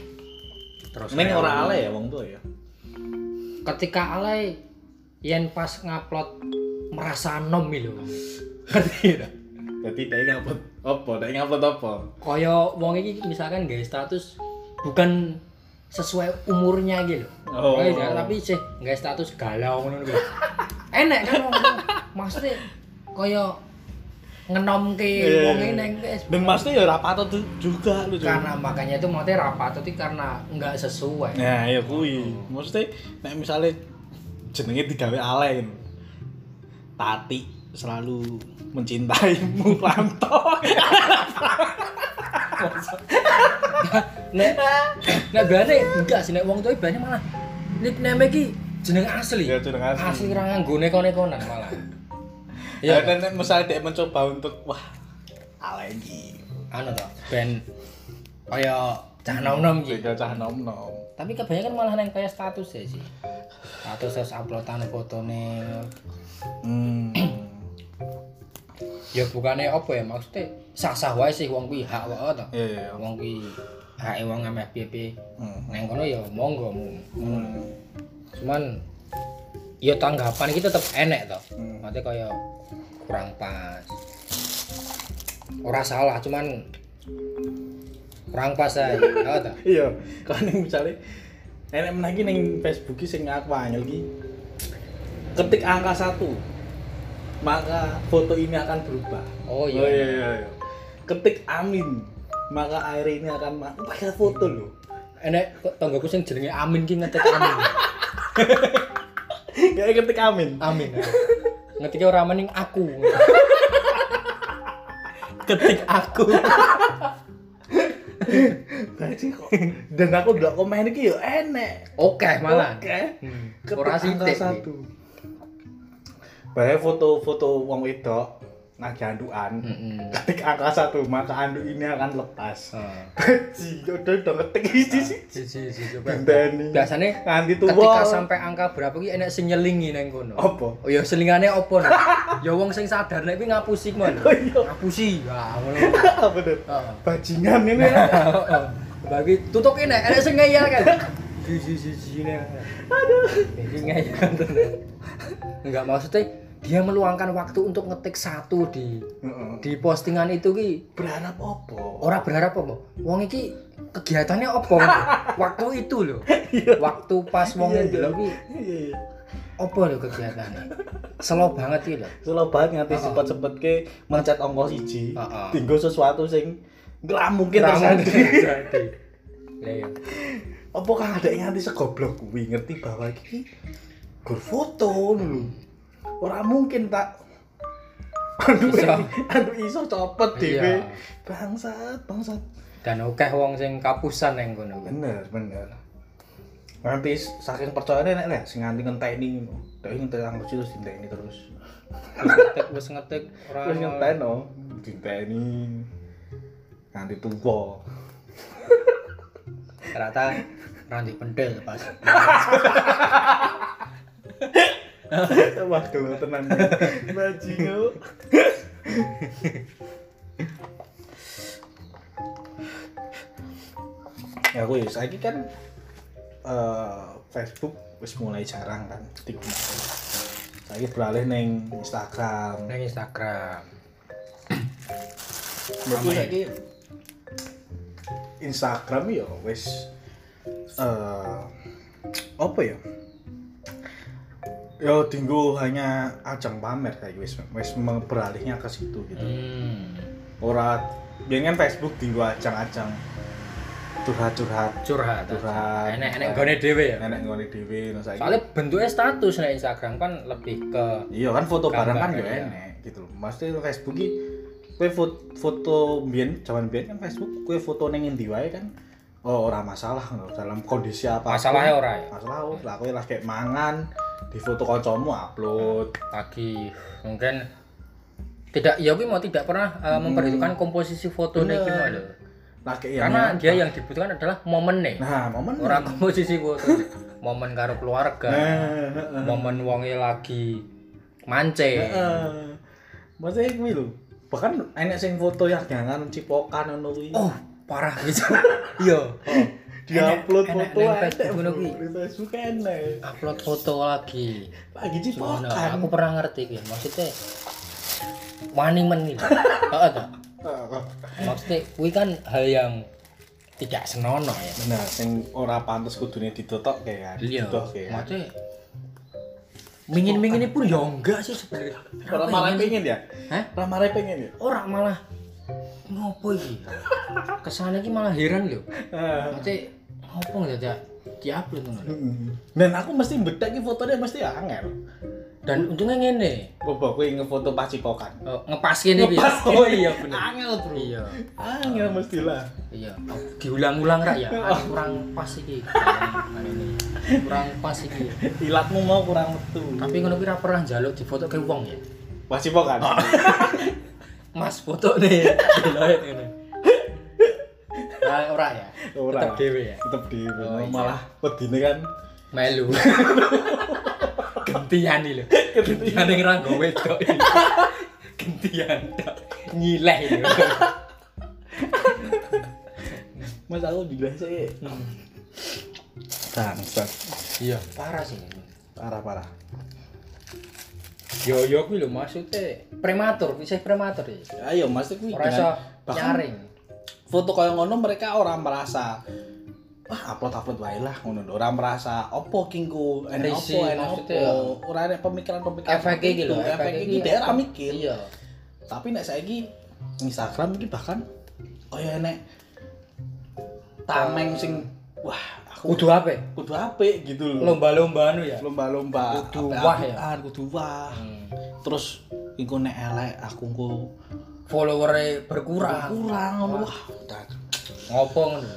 Speaker 2: terus
Speaker 1: Ning
Speaker 2: kayak
Speaker 1: ora ale ya wong tuh ya.
Speaker 2: ketika alay yen pas ngupload merasa nom gitu. iki lho
Speaker 1: Jadi dia Iya. ngupload apa? Dia ngupload apa?
Speaker 2: kaya wong iki misalkan nggak status bukan sesuai umurnya gitu
Speaker 1: Oh.
Speaker 2: Kayak ya, tapi sih nggak status galau ngono kuwi. Enak kan wong ngono. maksudnya kaya ngenomke
Speaker 1: Iya,
Speaker 2: wong
Speaker 1: iya.
Speaker 2: ini nang Facebook.
Speaker 1: Dan maksudnya ya rapat tuh juga lu Jun.
Speaker 2: karena makanya itu mau rapat itu karena nggak sesuai.
Speaker 1: Nah, ya kuwi. Maksudnya nek misale jenenge digawe alay ngono. Tati selalu mencintaimu Pranto.
Speaker 2: Nek nek berane enggak sih nek wong tuwa berane malah nickname iki jeneng asli.
Speaker 1: Ya, jeneng asli.
Speaker 2: Asli ra nganggo neko-nekonan malah.
Speaker 1: ya
Speaker 2: Ya
Speaker 1: kan nek misale dia mencoba untuk wah alay iki.
Speaker 2: anu to ben kaya cah nom-nom iki.
Speaker 1: Beda cah nom-nom.
Speaker 2: tapi kebanyakan malah neng kayak status ya sih status terus uploadan fotone
Speaker 1: Hmm.
Speaker 2: ya bukannya apa ya maksudnya sah sah wae sih wong kuwi hak wae to
Speaker 1: Iya, iya.
Speaker 2: wong kuwi hak wong ambek PP
Speaker 1: Hmm.
Speaker 2: neng kono ya monggo mu
Speaker 1: Hmm.
Speaker 2: cuman ya tanggapan kita tetap enek to
Speaker 1: Hmm.
Speaker 2: maksudnya kayak kurang pas ora salah cuman kurang pas aja ya to
Speaker 1: Iya, kan misalnya enek meneh iki ning Facebook iki sing aku anyel iki ketik angka satu maka foto ini akan berubah.
Speaker 2: oh iya
Speaker 1: iya. Ketik amin maka air ini akan ma- pakai foto lo.
Speaker 2: enek kok tanggaku sing jenenge Amin ki ngetik Amin
Speaker 1: Ya ketik amin.
Speaker 2: Amin. Ngetiknya orang mending aku. Ketik aku.
Speaker 1: Gaji Nah, kok. Dan aku udah komen iki yo enek.
Speaker 2: Oke malah.
Speaker 1: Oke.
Speaker 2: Hmm.
Speaker 1: Ketik
Speaker 2: Ora
Speaker 1: angka
Speaker 2: sithik.
Speaker 1: satu. Bae foto-foto wong wedok lagi andukan.
Speaker 2: Heeh.
Speaker 1: Ketik angka satu maka anduk ini akan lepas.
Speaker 2: Ah.
Speaker 1: Baji, udah udah ngetik isi sih.
Speaker 2: Siji siji
Speaker 1: Benteni.
Speaker 2: Biasanya
Speaker 1: Nganti tua.
Speaker 2: ketika sampai angka berapa ki enek sing nyelingi nang kono.
Speaker 1: Apa?
Speaker 2: Oh ya selingane opo no? Ya wong sing sadar nek kuwi ngapusi kuwi.
Speaker 1: Oh iya.
Speaker 2: Ngapusi. Wah ngono.
Speaker 1: Bener.
Speaker 2: Heeh.
Speaker 1: Bajingan ini.
Speaker 2: Heeh. Bagi tutup ini enek sing ngeyel kan. Siji siji ini. Aduh. Iki ngeyel tenan. Enggak maksudnya dia meluangkan waktu untuk ngetik satu di
Speaker 1: Heeh.
Speaker 2: di postingan itu ki
Speaker 1: Berharap opo?
Speaker 2: orang berharap apa wong iki kegiatannya apa waktu itu loh waktu pas wong
Speaker 1: Iya, iya.
Speaker 2: ndelok ki
Speaker 1: Iya, iya.
Speaker 2: opo lho kegiatannya slow banget iki lho
Speaker 1: Selo banget nganti
Speaker 2: Heeh.
Speaker 1: sepet-sepet ke mencet angka siji.
Speaker 2: Heeh.
Speaker 1: Dinggo sesuatu sing nggak mungkin
Speaker 2: Nggak mungkin
Speaker 1: terjadi.
Speaker 2: terjadi. Lah iya.
Speaker 1: Apa kang ada yang nganti segoblok kuwi ngerti bahwa iki gur foto dulu. Ora mungkin tak Aduh,
Speaker 2: Iso.
Speaker 1: aduh iso copet dhewe.
Speaker 2: Iya.
Speaker 1: Bangsat, bangsat.
Speaker 2: dan akeh wong sing kapusan yang kono kan
Speaker 1: Bener, bener. Nanti saking percayane nek nek sing nganti ngenteni ngono. Dek ngenteni nang kursi terus dienteni terus.
Speaker 2: wis ngetik wis ngetik ora
Speaker 1: Terus ngenteni no, dienteni. Nganti tuwa.
Speaker 2: ternyata randi pendel pas
Speaker 1: Wah, dulu tenang. Bajingo. ya aku ya, saiki kan eh, Facebook wis mulai jarang kan digunakan. Saiki beralih neng Instagram.
Speaker 2: nang Instagram
Speaker 1: Menurutku
Speaker 2: Ramai.
Speaker 1: saiki Instagram ya wis eh apa ya? Ya dinggo hanya ajang pamer kayak wis wis me- beralihnya ke situ gitu.
Speaker 2: hmm.
Speaker 1: Ora biyen kan Facebook dinggo ajang-ajang curhat-curhat
Speaker 2: curhat
Speaker 1: Curhat.
Speaker 2: enek enek gone dhewe ya
Speaker 1: nenek ngone dhewe no saiki.
Speaker 2: soalnya bentuknya status nang Instagram kan lebih ke
Speaker 1: Iya kan foto
Speaker 2: Gambar,
Speaker 1: bareng kan ya
Speaker 2: iya.
Speaker 1: enek gitu loh. Maksudnya Facebook iki kowe foto, foto mbiyen jaman mbiyen kan Facebook kowe foto ning endi wae kan oh ora masalah no. dalam kondisi apa
Speaker 2: masalahnya ora ya
Speaker 1: masalah oh, lah kowe lagi mangan di foto kancamu upload
Speaker 2: lagi mungkin tidak ya kuwi mau tidak pernah eh, memperhitungkan komposisi fotonya
Speaker 1: Hmm. Bener.
Speaker 2: gimana lho.
Speaker 1: lagi
Speaker 2: karena dia yang dibutuhkan adalah momennya
Speaker 1: nah momen
Speaker 2: ora komposisi foto momen karo keluarga
Speaker 1: nah heeh.
Speaker 2: momen wonge lagi mancing
Speaker 1: Heeh. maksudnya kuwi lho bahkan enek sing foto yang jangan cipokan ngono kuwi
Speaker 2: oh parah gitu iya
Speaker 1: Oh. di upload
Speaker 2: enek-
Speaker 1: foto
Speaker 2: enek
Speaker 1: enek,
Speaker 2: Facebook ngono kuwi.
Speaker 1: Di Facebook enek
Speaker 2: upload foto lagi
Speaker 1: lagi
Speaker 2: Cuman,
Speaker 1: cipokan
Speaker 2: aku pernah ngerti gitu maksudnya wani men gitu Heeh, toh.
Speaker 1: Heeh.
Speaker 2: maksudnya kuwi kan hal yang tidak senonoh ya
Speaker 1: Bener, Nah, sing ora pantes kudune kan, ditotok kayak
Speaker 2: iya
Speaker 1: kayak.
Speaker 2: maksudnya mingin-mingin pun ya enggak sih sebenarnya
Speaker 1: Ora
Speaker 2: Apa
Speaker 1: malah
Speaker 2: ya?
Speaker 1: pengen ya?
Speaker 2: Hah?
Speaker 1: Ora malah pengen ya?
Speaker 2: ora malah ngopo iki kesana iki malah heran lho maksudnya ngopo nggak ada diupload ngono lho.
Speaker 1: Heeh. Dan aku mesti bedek iki fotone mesti angel.
Speaker 2: dan untungnya ngene
Speaker 1: Bobo kowe ngefoto pas cipokan.
Speaker 2: eh, ngepas gini
Speaker 1: Ngepas
Speaker 2: Bi. oh iya bener
Speaker 1: Angel, Bro.
Speaker 2: iya
Speaker 1: Angel mesti lah.
Speaker 2: iya Oh, diulang-ulang rak ya Ah, kurang pas iki Kurang- kurang pas iki
Speaker 1: Ilatmu mau kurang metu.
Speaker 2: tapi ngono kuwi ra pernah njaluk difoto ke wong ya
Speaker 1: Pas cipokan.
Speaker 2: Oh. mas foto nih delok ngene Nah, ora ya
Speaker 1: Ora.
Speaker 2: tetep dhewe ya
Speaker 1: Tetep di
Speaker 2: Oh, iya.
Speaker 1: malah wedine kan
Speaker 2: melu gentian iki lho
Speaker 1: Gentian.
Speaker 2: gentian ning ra nggo wedok iki. gentian tok nyileh iki.
Speaker 1: Mas aku juga sih.
Speaker 2: Hmm.
Speaker 1: Bangsat.
Speaker 2: iya parah sih
Speaker 1: Parah-parah.
Speaker 2: yo yo kuwi lho maksudnya prematur bisa prematur ya
Speaker 1: Ayo, Mas kuwi
Speaker 2: ora iso nyaring
Speaker 1: foto kaya ngono mereka orang merasa wah upload upload wae lah ngono lho." orang merasa opo kingku enak
Speaker 2: Risi,
Speaker 1: opo enak
Speaker 2: maksudnya. ya.
Speaker 1: opo ora ada pemikiran-pemikiran
Speaker 2: efek iki lho
Speaker 1: gitu, efek iki dia ora mikir
Speaker 2: iya
Speaker 1: tapi nek saiki Instagram iki bahkan kaya enek tameng sing wah aku
Speaker 2: kudu Hmm. apa
Speaker 1: kudu apik gitu lho
Speaker 2: lomba-lomba anu ya
Speaker 1: lomba-lomba
Speaker 2: Kudu
Speaker 1: apik-apikan,
Speaker 2: wah ya.
Speaker 1: kudu wah
Speaker 2: Hmm.
Speaker 1: terus engko nek elek aku engko
Speaker 2: followernya berkurang
Speaker 1: kurang ngono wah udah
Speaker 2: ngopo ngono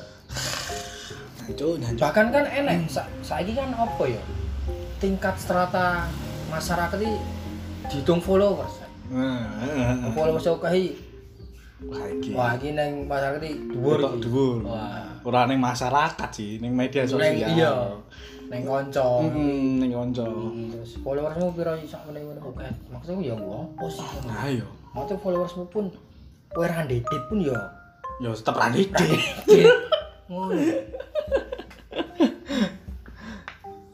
Speaker 1: hancur hancur
Speaker 2: bahkan kan enek
Speaker 1: Hmm.
Speaker 2: sa saiki kan apa ya tingkat strata masyarakat iki dihitung followers
Speaker 1: Nah, Hmm.
Speaker 2: followers oke
Speaker 1: lagi
Speaker 2: wah iki neng masyarakat iki dhuwur
Speaker 1: Hmm. Ketok
Speaker 2: iki.
Speaker 1: dhuwur.
Speaker 2: wah
Speaker 1: Ora ning masyarakat sih, ya. Hmm. ning media sosial.
Speaker 2: neng iya neng kanca Hmm,
Speaker 1: Heeh, ning kanca.
Speaker 2: terus followersmu piro iki sak meneh ngono oke maksudku ya ngopo sih
Speaker 1: Nah yo.
Speaker 2: maksudku followersmu pun kowe ra ndedit pun ya
Speaker 1: Yo tetep ra ide.
Speaker 2: ngono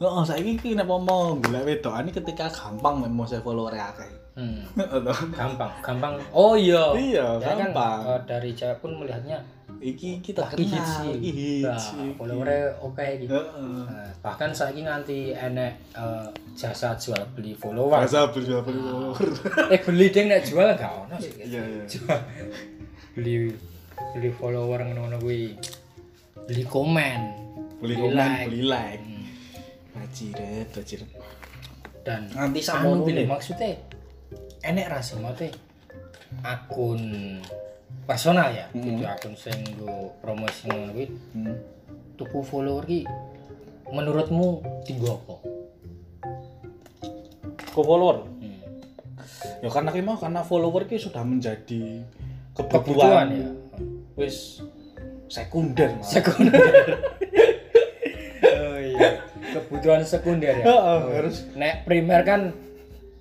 Speaker 1: Heeh, saiki iki nek mau golek wedokan iki ketika gampang mek mau saya follower akeh.
Speaker 2: hmm.
Speaker 1: Heeh.
Speaker 2: gampang gampang oh iya
Speaker 1: Iya,
Speaker 2: Jadi kan,
Speaker 1: gampang.
Speaker 2: eh, dari cewek pun melihatnya
Speaker 1: iki kita
Speaker 2: Wah,
Speaker 1: kenal
Speaker 2: iki hits iki.
Speaker 1: iki hits
Speaker 2: Nah,
Speaker 1: iki.
Speaker 2: followernya oke iki.
Speaker 1: Heeh.
Speaker 2: Nah, bahkan saiki nganti enek eh, jasa jual beli follower.
Speaker 1: Bahasa berjual beli follower.
Speaker 2: eh beli ding nek jual gak ono sih.
Speaker 1: Iya iya.
Speaker 2: Jual- beli beli follower ngono-ngono kuwi. Beli komen.
Speaker 1: Beli komen,
Speaker 2: like.
Speaker 1: beli like.
Speaker 2: Hmm.
Speaker 1: Bajiret, bajiret.
Speaker 2: dan
Speaker 1: Nanti sama
Speaker 2: anu
Speaker 1: ngono
Speaker 2: pilih
Speaker 1: ya?
Speaker 2: maksudnya enek rasa mate akun personal ya
Speaker 1: Hmm.
Speaker 2: gitu akun sing nggo promosi ngono kuwi
Speaker 1: Hmm.
Speaker 2: tuku follower ki menurutmu tinggi apa?
Speaker 1: Ke follower.
Speaker 2: Hmm.
Speaker 1: Ya karena ki mau karena follower ki sudah menjadi
Speaker 2: kebutuhan
Speaker 1: kebutuhan.
Speaker 2: ya
Speaker 1: Wis sekunder malah.
Speaker 2: sekunder oh iya kebutuhan sekunder ya
Speaker 1: Heeh, harus.
Speaker 2: nek primer kan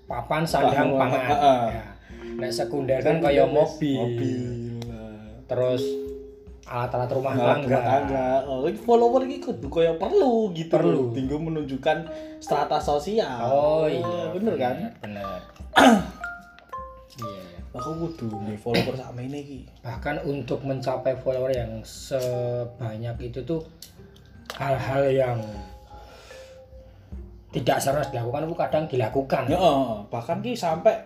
Speaker 2: papan sandang
Speaker 1: Papan,
Speaker 2: pangan
Speaker 1: heeh.
Speaker 2: ya. nek sekunder kan kaya mobil,
Speaker 1: Mobil. lah.
Speaker 2: terus alat-alat rumah
Speaker 1: Alat
Speaker 2: tangga,
Speaker 1: rumah tangga. Oh, iki follower iki kudu kaya perlu gitu.
Speaker 2: Perlu.
Speaker 1: Tinggal menunjukkan strata sosial.
Speaker 2: Oh iya,
Speaker 1: bener kan?
Speaker 2: Bener. Iya. iya.
Speaker 1: Aku kudu nge follower sama ini iki.
Speaker 2: Bahkan untuk mencapai follower yang sebanyak itu tuh hal-hal yang tidak seharusnya dilakukan itu kadang dilakukan.
Speaker 1: Ya, eh, bahkan ki sampai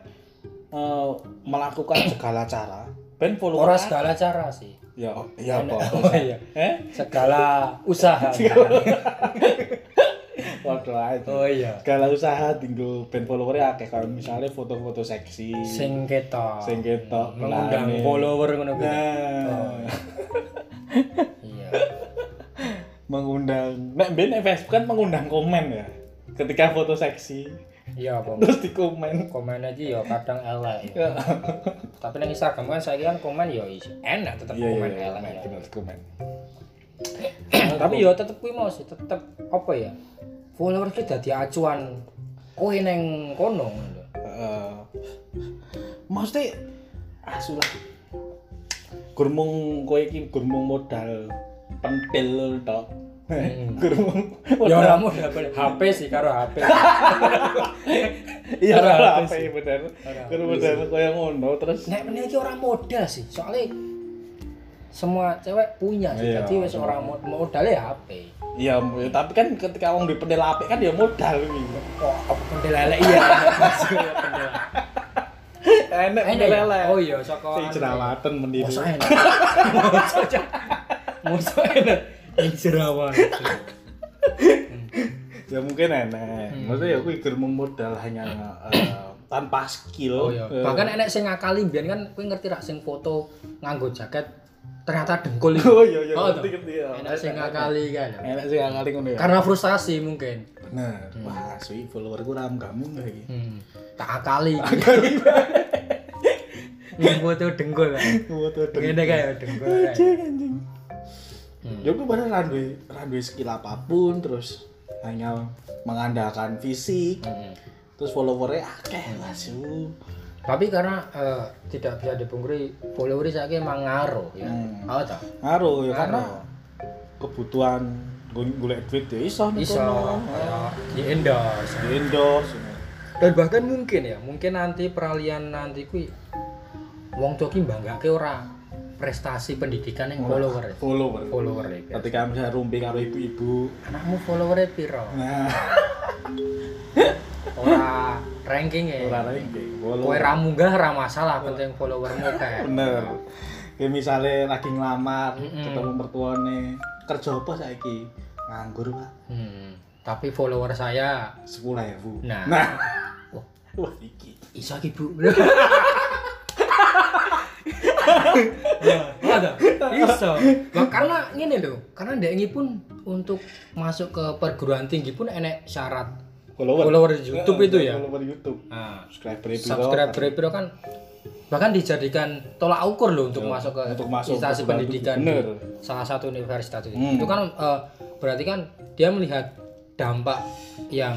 Speaker 1: eh, melakukan segala cara ben follower
Speaker 2: Orang segala cara sih.
Speaker 1: ya ya apa
Speaker 2: Oh iya.
Speaker 1: eh
Speaker 2: Segala usaha.
Speaker 1: waduh aja
Speaker 2: oh iya.
Speaker 1: segala usaha tinggal ben followernya akeh kayak misalnya foto-foto seksi
Speaker 2: Sing ketok. Hmm,
Speaker 1: Sing ketok,
Speaker 2: Mengundang
Speaker 1: belane.
Speaker 2: follower ngono kuwi. Oh,
Speaker 1: nah
Speaker 2: Iya.
Speaker 1: mengundang nek ben nek Facebook kan mengundang komen ya ketika foto seksi
Speaker 2: Iya, Bang.
Speaker 1: terus di komen
Speaker 2: komen aja ya kadang elek ya. tapi nang Instagram kan saya kan komen ya is- enak tetep
Speaker 1: Iya,
Speaker 2: komen elek ya.
Speaker 1: bener komen
Speaker 2: tapi ya tetep kuwi mau sih tetep apa ya follower ki dadi acuan kowe neng kono ngono.
Speaker 1: Eh, maksudnya asu lah gurmung kowe iki gurmung modal pentil tok
Speaker 2: Hmm.
Speaker 1: gurmung
Speaker 2: ya ora mau dapat HP sih karo HP
Speaker 1: iya
Speaker 2: Ora
Speaker 1: ora
Speaker 2: habis.
Speaker 1: apa ya bener
Speaker 2: Ora
Speaker 1: gurmung modal koyo ngono terus
Speaker 2: nek meneh iki ora modal sih soalnya semua cewek punya sih
Speaker 1: Iya.
Speaker 2: jadi wis ora mod modalnya ya HP
Speaker 1: iya tapi kan ketika wong duwe pentil apik kan ya modal kuwi
Speaker 2: kok apa pendel elek iya Maksudnya pendel elek.
Speaker 1: enek
Speaker 2: Enak
Speaker 1: pentil
Speaker 2: ya?
Speaker 1: elek
Speaker 2: oh iya
Speaker 1: sing
Speaker 2: saka
Speaker 1: Iya.
Speaker 2: anu.
Speaker 1: jerawatan meniru
Speaker 2: Masa enak. Masa enak. Yang jerawat.
Speaker 1: ya mungkin enak
Speaker 2: Hmm.
Speaker 1: maksudnya ya kuwi gurmung modal hanya eh, tanpa skill
Speaker 2: Oh iya.
Speaker 1: Eh,
Speaker 2: Bahkan enek sing ngakali mbiyen kan kowe ngerti ra sing foto nganggo jaket ternyata dengkul itu.
Speaker 1: oh iya iya
Speaker 2: Oh,
Speaker 1: ngerti ngerti ya
Speaker 2: Enek sing ngakali kan. Hmm.
Speaker 1: enak sih ngakali ngono ya
Speaker 2: Karena frustasi mungkin.
Speaker 1: Bener. Wah, sui followerku ram kamu enggak iki.
Speaker 2: Hmm. Tak akali. Yang foto dengkul. kan.
Speaker 1: Foto
Speaker 2: Ngene kae ya, dengkul. kan.
Speaker 1: anjing anjing.
Speaker 2: Hmm.
Speaker 1: Ya gue bener runway, runway skill apapun terus hanya mengandalkan fisik
Speaker 2: Hmm.
Speaker 1: terus followernya akeh lah su
Speaker 2: Tapi karena eh, tidak bisa dipungkiri follower saya emang ngaruh ya.
Speaker 1: Hmm.
Speaker 2: Oh, toh.
Speaker 1: ngaruh ya
Speaker 2: Ngaruh.
Speaker 1: karena kebutuhan gue golek duit ya iso nih
Speaker 2: bisa
Speaker 1: kono.
Speaker 2: ya, di endorse
Speaker 1: di endorse ya.
Speaker 2: dan bahkan mungkin ya mungkin nanti peralihan nanti kui wong tua ki bangga ora prestasi pendidikan yang follower ya.
Speaker 1: follower
Speaker 2: follower ya.
Speaker 1: ketika misalnya rumpi karo ibu-ibu
Speaker 2: anakmu followernya piro
Speaker 1: nah
Speaker 2: ora ranking ya
Speaker 1: olahraga iki,
Speaker 2: kowe
Speaker 1: follower
Speaker 2: ra munggah ra masalah penting followermu kayak
Speaker 1: bener kayak misalnya lagi ngelamar
Speaker 2: Mm-mm.
Speaker 1: ketemu mertuane kerja apa saiki nganggur pak
Speaker 2: hmm. tapi follower saya
Speaker 1: sepuluh ya bu
Speaker 2: Nah. Oh.
Speaker 1: wah, wah iki
Speaker 2: iso iki bu ya ada iso Lah, karena ngene lho karena DNI pun untuk masuk ke perguruan tinggi pun enek syarat
Speaker 1: follower
Speaker 2: follower YouTube
Speaker 1: Eh,
Speaker 2: itu ya
Speaker 1: follower YouTube
Speaker 2: nah,
Speaker 1: subscriber itu
Speaker 2: subscriber piro kan bahkan dijadikan tolak ukur loh untuk
Speaker 1: Ya,
Speaker 2: masuk ke
Speaker 1: untuk masuk
Speaker 2: instansi
Speaker 1: perguruan
Speaker 2: pendidikan
Speaker 1: tinggi. Bener.
Speaker 2: di salah satu universitas itu.
Speaker 1: Hmm.
Speaker 2: Itu kan eh, berarti kan dia melihat dampak yang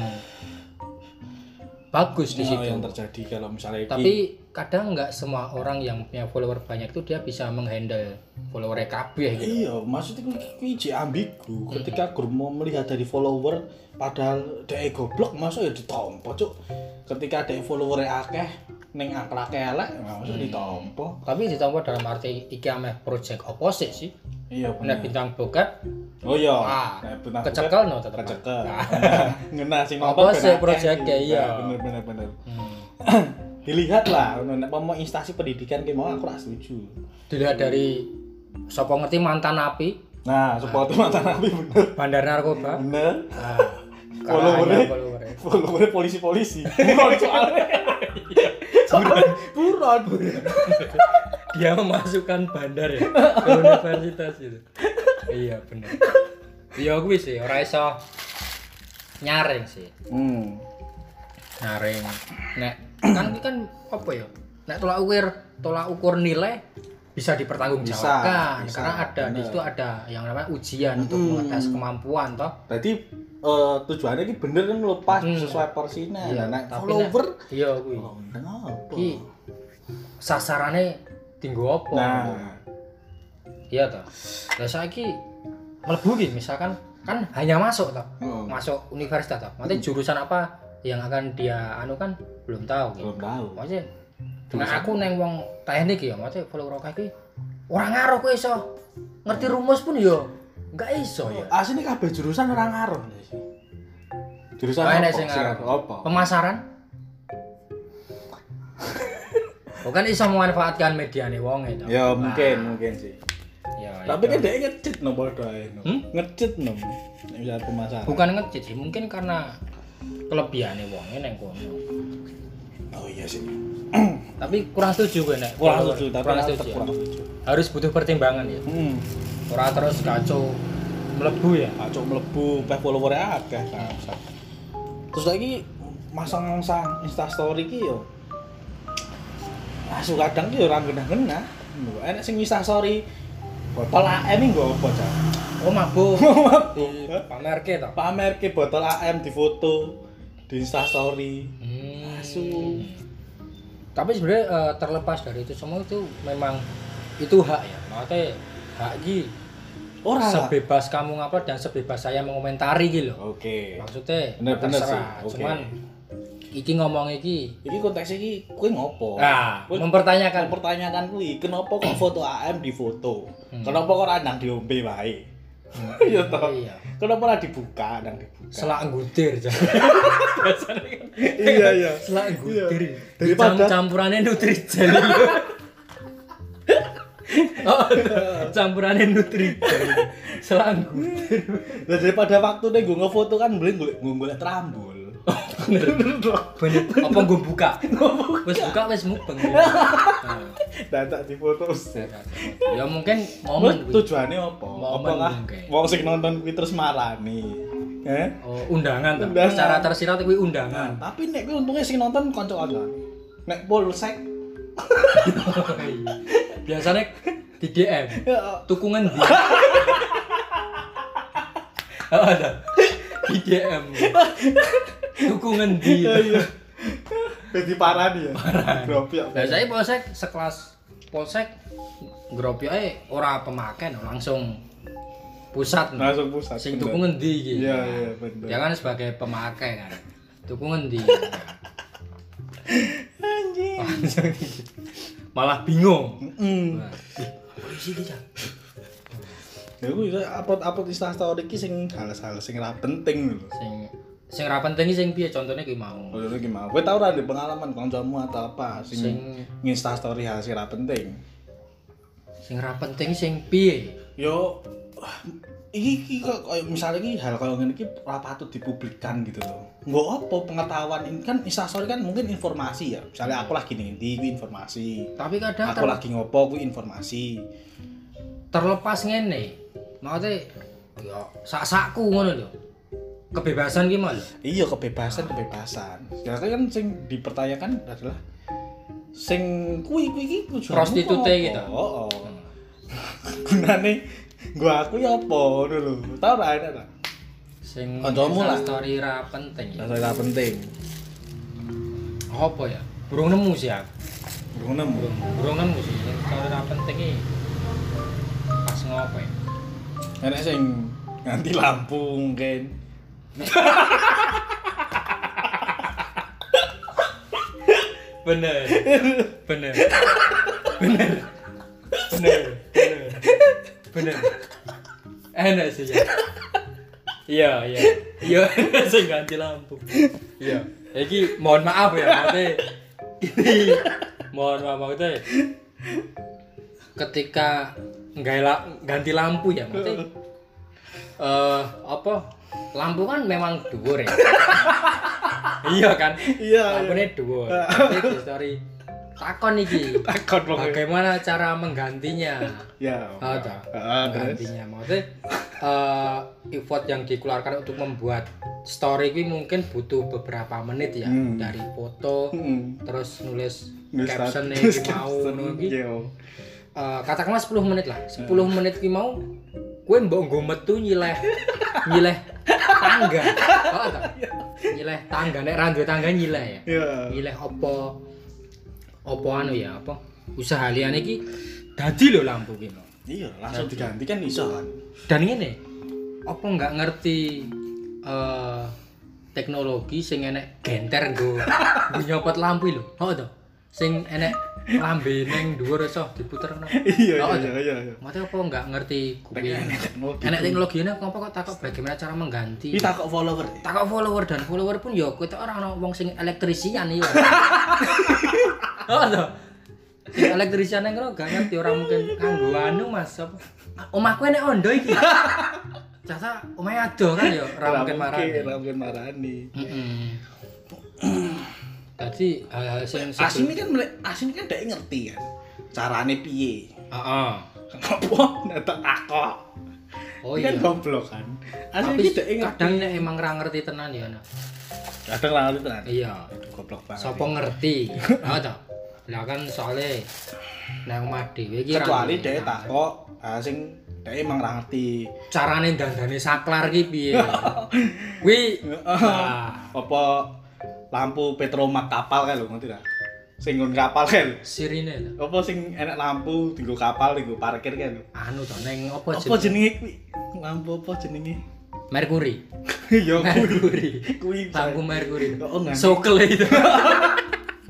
Speaker 2: bagus di situ.
Speaker 1: yang terjadi kalau misalnya iki-
Speaker 2: Tapi kadang nggak semua orang yang punya follower banyak itu dia bisa menghandle follower kabeh gitu.
Speaker 1: iya maksudnya kui- kui jek ambigu
Speaker 2: Hmm.
Speaker 1: ketika gur mau melihat dari follower padahal dek goblok masuk ya ditompo cuk ketika dek follower akeh ning akhlake elek ya nggak usah
Speaker 2: Hmm.
Speaker 1: ditampa.
Speaker 2: Tapi ditampa dalam arti iki ameh project opposite sih.
Speaker 1: Iya
Speaker 2: Nek
Speaker 1: bener.
Speaker 2: bintang bokep
Speaker 1: Oh iya.
Speaker 2: Ah,
Speaker 1: Nek bintang bokep,
Speaker 2: kecekel no tetep.
Speaker 1: Kecekel.
Speaker 2: Nah.
Speaker 1: Ngena sing
Speaker 2: Apa
Speaker 1: ben
Speaker 2: sih
Speaker 1: akeh
Speaker 2: project
Speaker 1: gitu.
Speaker 2: ya, iya.
Speaker 1: Nah, Bener bener bener.
Speaker 2: Hmm.
Speaker 1: Dilihat lah ngono. nek mau instansi pendidikan ki mau aku ra setuju.
Speaker 2: Dilihat dari sapa ngerti mantan api,
Speaker 1: Nah, support
Speaker 2: Ah.
Speaker 1: mantan nabi bener.
Speaker 2: bandar narkoba. ya,
Speaker 1: Bener.
Speaker 2: Nah,
Speaker 1: Followernya.
Speaker 2: karena hanya followernya.
Speaker 1: Followernya polisi-polisi. Buron soalnya. Soalnya buron.
Speaker 2: Dia memasukkan bandar ya ke universitas gitu. iya bener. Iya kuwi sih ora iso nyaring sih.
Speaker 1: Hmm.
Speaker 2: nyaring nek kan ini kan apa ya nek tolak ukur tolak ukur nilai bisa
Speaker 1: Bisa,
Speaker 2: dipertanggungjawabkan
Speaker 1: bisa,
Speaker 2: karena ada di
Speaker 1: bener.
Speaker 2: situ ada yang namanya ujian untuk
Speaker 1: Mm.
Speaker 2: mengetes kemampuan toh
Speaker 1: Berarti eh, tujuannya ini bener kan lepas
Speaker 2: Hmm.
Speaker 1: sesuai porsinya. Nah, nek
Speaker 2: tapi
Speaker 1: follower
Speaker 2: nek- iya kuwi
Speaker 1: Oh, ndang apa?
Speaker 2: iki sasarane tinggo apa
Speaker 1: Nah,
Speaker 2: iya toh lah saiki mlebu ki misalkan kan hanya masuk toh
Speaker 1: oh,
Speaker 2: masuk universitas toh nanti jurusan apa yang akan dia anu kan belum tahu gitu.
Speaker 1: belum tahu.
Speaker 2: Maksudnya, nah
Speaker 1: Jurusan.
Speaker 2: aku neng wong teknik ya, maksudnya follower aku iki ora ngaruh kowe iso. Ngerti rumus pun yo enggak iso ya.
Speaker 1: Asli Ah, kabeh jurusan orang ngaruh. Jurusan
Speaker 2: Oh,
Speaker 1: apa?
Speaker 2: enak sing ngaruh.
Speaker 1: Apa?
Speaker 2: Pemasaran. Bukan iso memanfaatkan media nih wong itu.
Speaker 1: Ya mungkin, mungkin sih.
Speaker 2: Ya,
Speaker 1: Tapi kan
Speaker 2: itu.
Speaker 1: dia ngecit no bodoh no.
Speaker 2: Hmm?
Speaker 1: Ngecit no. Nek Misal pemasaran.
Speaker 2: bukan ngecit sih, mungkin karena kelebihan nih wongnya neng kono.
Speaker 1: Oh iya sih.
Speaker 2: Tapi kurang setuju gue nek.
Speaker 1: Kurang
Speaker 2: follower.
Speaker 1: setuju, tapi
Speaker 2: kurang
Speaker 1: aku
Speaker 2: setuju.
Speaker 1: kurang setuju.
Speaker 2: Harus butuh pertimbangan ya.
Speaker 1: Hmm.
Speaker 2: Ora terus kacau melebu ya.
Speaker 1: Acok mlebu peh follower akeh kan. Terus lagi masang sang Insta story ki yo. Asu kadang ki ora genah-genah. Lho, Enak sing Insta story botol AM iki nggo apa, Cak?
Speaker 2: Oh mabuk. Di pamerke toh.
Speaker 1: Pamer ki botol AM di foto di Insta story.
Speaker 2: Hmm.
Speaker 1: Asu.
Speaker 2: Tapi sebenarnya eh, terlepas dari itu semua itu memang itu hak ya. Maksudnya hak ini
Speaker 1: Ora lah.
Speaker 2: sebebas kamu ngapa dan sebebas saya mengomentari gitu loh.
Speaker 1: Oke.
Speaker 2: Maksudnya
Speaker 1: Bener, bener
Speaker 2: terserah.
Speaker 1: sih. Oke.
Speaker 2: Cuman iki ngomong iki
Speaker 1: Iki konteks iki kowe ngopo?
Speaker 2: nah,
Speaker 1: Kowe
Speaker 2: mempertanyakan
Speaker 1: mempertanyakan kuwi kenapa kok foto AM di foto?
Speaker 2: Hmm.
Speaker 1: Kenapa kok ora nang diombe wae? Iya toh.
Speaker 2: iya.
Speaker 1: Kenapa ora dibuka nang dibuka?
Speaker 2: Selak nggutir. Jan.
Speaker 1: iya iya.
Speaker 2: Selak nggutir.
Speaker 1: Daripada-
Speaker 2: Daripada campurannya Nutrijel. oh, campurannya Nutrijel. Selak nggutir.
Speaker 1: Lah daripada waktu nih gue ngefoto kan beli gue golek trambul.
Speaker 2: bener apa gue buka wes buka wes mukbang
Speaker 1: Dan tak difoto set.
Speaker 2: ya mungkin
Speaker 1: Momen
Speaker 2: momen kuwi.
Speaker 1: tujuannya apa?
Speaker 2: Momen
Speaker 1: Apa lah?
Speaker 2: kuwi.
Speaker 1: Wong sing nonton kuwi terus marani. Eh?
Speaker 2: oh, undangan tuh
Speaker 1: Undangan.
Speaker 2: secara tersirat kuwi undangan
Speaker 1: Nah, Tapi nek kuwi untungnya sing nonton kanca-kanca. Nek polsek Iya.
Speaker 2: biasanya di DM
Speaker 1: ya,
Speaker 2: tukungan di oh, ada di DM tukungan di
Speaker 1: iya. Jadi parani ya. Gropi ya.
Speaker 2: Lah saya polsek sekelas polsek gropi ae ora pemakai no, langsung pusat no.
Speaker 1: Langsung pusat.
Speaker 2: sing
Speaker 1: bener.
Speaker 2: tuku ngendi iki?
Speaker 1: Iya, iya, bener.
Speaker 2: Dia kan sebagai pemakai kan. Tuku ngendi?
Speaker 1: Anjing.
Speaker 2: Langsung iki. Malah bingung.
Speaker 1: Mm.
Speaker 2: Wah, ih, Polisi iki Cak.
Speaker 1: Ya kuwi upload-upload Instastory iki sing hal-hal sing ra penting lho.
Speaker 2: Sing sing ra penting iki sing piye contohnya kuwi mau.
Speaker 1: Kalau gimana? Gue tau ada pengalaman kancamu atau apa sing,
Speaker 2: Sing
Speaker 1: nginsta story hasil ra penting.
Speaker 2: sing ra penting sing piye?
Speaker 1: Yo ah, iki iki kok koyo misalnya iki hal koyo ngene iki ora patut dipublikkan gitu loh. Nggo apa pengetahuan ini kan insta story kan mungkin informasi ya. Misalnya aku lagi ngendi kuwi informasi.
Speaker 2: Tapi kadang
Speaker 1: Aku
Speaker 2: ter-
Speaker 1: lagi ngopo kuwi informasi.
Speaker 2: terlepas ngene. Maksudnya ya sak-sakku ngono lho. Kebebasan ki mau lho.
Speaker 1: Iya kebebasan kebebasan. Ya kan sing dipertanyakan adalah sing kuwi kuwi iki tujuanmu
Speaker 2: Prostitute
Speaker 1: apa?
Speaker 2: gitu.
Speaker 1: Heeh. gunane gua aku ya apa dulu tau ra enak ra
Speaker 2: Sing
Speaker 1: Kancamu lah.
Speaker 2: story ra penting. ya.
Speaker 1: rasa tak penting
Speaker 2: Apa ya? Burung nemu sih aku.
Speaker 1: belum nemu
Speaker 2: burung burung nemu sih yang kalau ora penting iki pas ngopo ya
Speaker 1: enak sing nganti lampu mungkin
Speaker 2: bener bener bener bener bener bener enak sih ya iya iya iya enak sih ganti lampu iya Iki mohon maaf ya maksudnya ini mohon maaf maksudnya ketika nggak la- ganti lampu ya maksudnya eh apa lampu kan memang dhuwur ya iya kan
Speaker 1: iya iya
Speaker 2: lampunya dhuwur tapi di story takon iki
Speaker 1: takut pokoknya
Speaker 2: bagaimana cara menggantinya
Speaker 1: ya
Speaker 2: Ah, tak.
Speaker 1: Ah, terus
Speaker 2: gantinya maksudnya eh, effort yang dikeluarkan untuk membuat story ini mungkin butuh beberapa menit ya
Speaker 1: Hmm.
Speaker 2: dari foto
Speaker 1: Mm-mm.
Speaker 2: terus nulis
Speaker 1: Nulis
Speaker 2: caption
Speaker 1: status,
Speaker 2: iki mau
Speaker 1: caption,
Speaker 2: ngono iki.
Speaker 1: iya. Hmm.
Speaker 2: Eh, katakanlah 10 menit lah 10 menit ki mau kue mbok nggo metu nyileh nyileh tangga oh, tak? nyileh tangga nek ra duwe tangga nyileh ya
Speaker 1: Iya.
Speaker 2: nyileh opo opo anu ya apa usaha liyane iki dadi lho lampu ki mau.
Speaker 1: Iya, langsung diganti kan iso kan.
Speaker 2: dan ini apa nggak ngerti eh, teknologi sing enek genter nggo nggo nyopot lampu lho oh to sing enek lambe neng dhuwur iso diputer no.
Speaker 1: Iya,
Speaker 2: Oh,
Speaker 1: iya, iya, iya.
Speaker 2: Mate apa nggak ngerti kuwi
Speaker 1: Pengen enak teknologi.
Speaker 2: enek teknologi ini apa kok takok bagaimana cara mengganti
Speaker 1: Ini takut follower.
Speaker 2: takok follower dan follower pun ya kowe tak ora ana wong sing elektrisian iya. Oh no. Sing elektrisian nang ngono gak ngerti ora mungkin kanggo anu Mas apa. Omahku enek ondo iki. Jasa omahe ado kan ya ora mungkin marani.
Speaker 1: Ra mungkin marani.
Speaker 2: Heeh. Dadi hal-hal sing
Speaker 1: Asin ini kan mele- Asin ini kan dek ngerti kan. Carane piye?
Speaker 2: Heeh.
Speaker 1: Apa nek tak takok.
Speaker 2: Oh
Speaker 1: Ini
Speaker 2: iya.
Speaker 1: Kan goblok kan. Asin
Speaker 2: Tapi
Speaker 1: ini dek ngerti.
Speaker 2: kadang nek emang ra ngerti tenan ya. Nah.
Speaker 1: Kadang lah itu kan.
Speaker 2: Iya.
Speaker 1: Aduh, Goblok banget.
Speaker 2: Sopo ngerti? Heeh to. Lah kan soalnya nang omah dhewe iki Iya, ra
Speaker 1: Kecuali
Speaker 2: ngerti.
Speaker 1: dek takok, ah, sing dek emang ra ngerti.
Speaker 2: carane dandane saklar ki piye. Kuwi nah,
Speaker 1: Apa lampu petromak kapal kan lho ngerti ra? Sing nggon kapal kan.
Speaker 2: sirine lho.
Speaker 1: Apa sing enak lampu tinggo kapal tinggo parkir kan.
Speaker 2: Anu to neng
Speaker 1: Apa
Speaker 2: apa
Speaker 1: jenenge
Speaker 2: jeneng?
Speaker 1: kuwi? Lampu apa jenenge?
Speaker 2: Merkuri.
Speaker 1: Ya kuwi.
Speaker 2: Merkuri.
Speaker 1: Kuwi
Speaker 2: Lampu Merkuri.
Speaker 1: Oh, nggak.
Speaker 2: Sokel itu.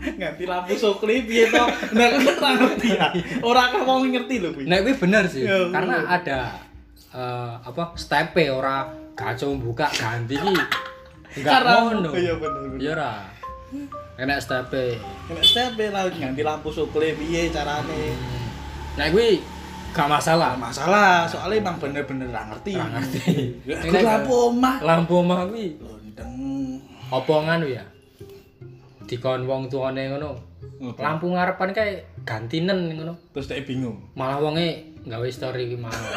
Speaker 1: nganti lampu sokli piye to nek aku ora ngerti ya ora akeh wong ngerti lho kuwi
Speaker 2: Nah, kuwi bener sih.
Speaker 1: Ya,
Speaker 2: Karena ada eh, apa? Stepe ora kacau buka ganti ki. Enggak ngono.
Speaker 1: iya bener bener
Speaker 2: Ya ora. Enak stepe.
Speaker 1: nek step lah nganti lampu sokli piye carane
Speaker 2: Nah, kuwi gak masalah.
Speaker 1: Gak masalah soalnya emang bener-bener ra ngerti
Speaker 2: Ra ngerti.
Speaker 1: Ya, aku lampu omah
Speaker 2: Lampu omah kuwi
Speaker 1: londeng
Speaker 2: apa nganu ya dikon wong tuane ngono lampu ngarepan kae gantinen ngono
Speaker 1: terus dia bingung
Speaker 2: malah wonge nggawe story ki malah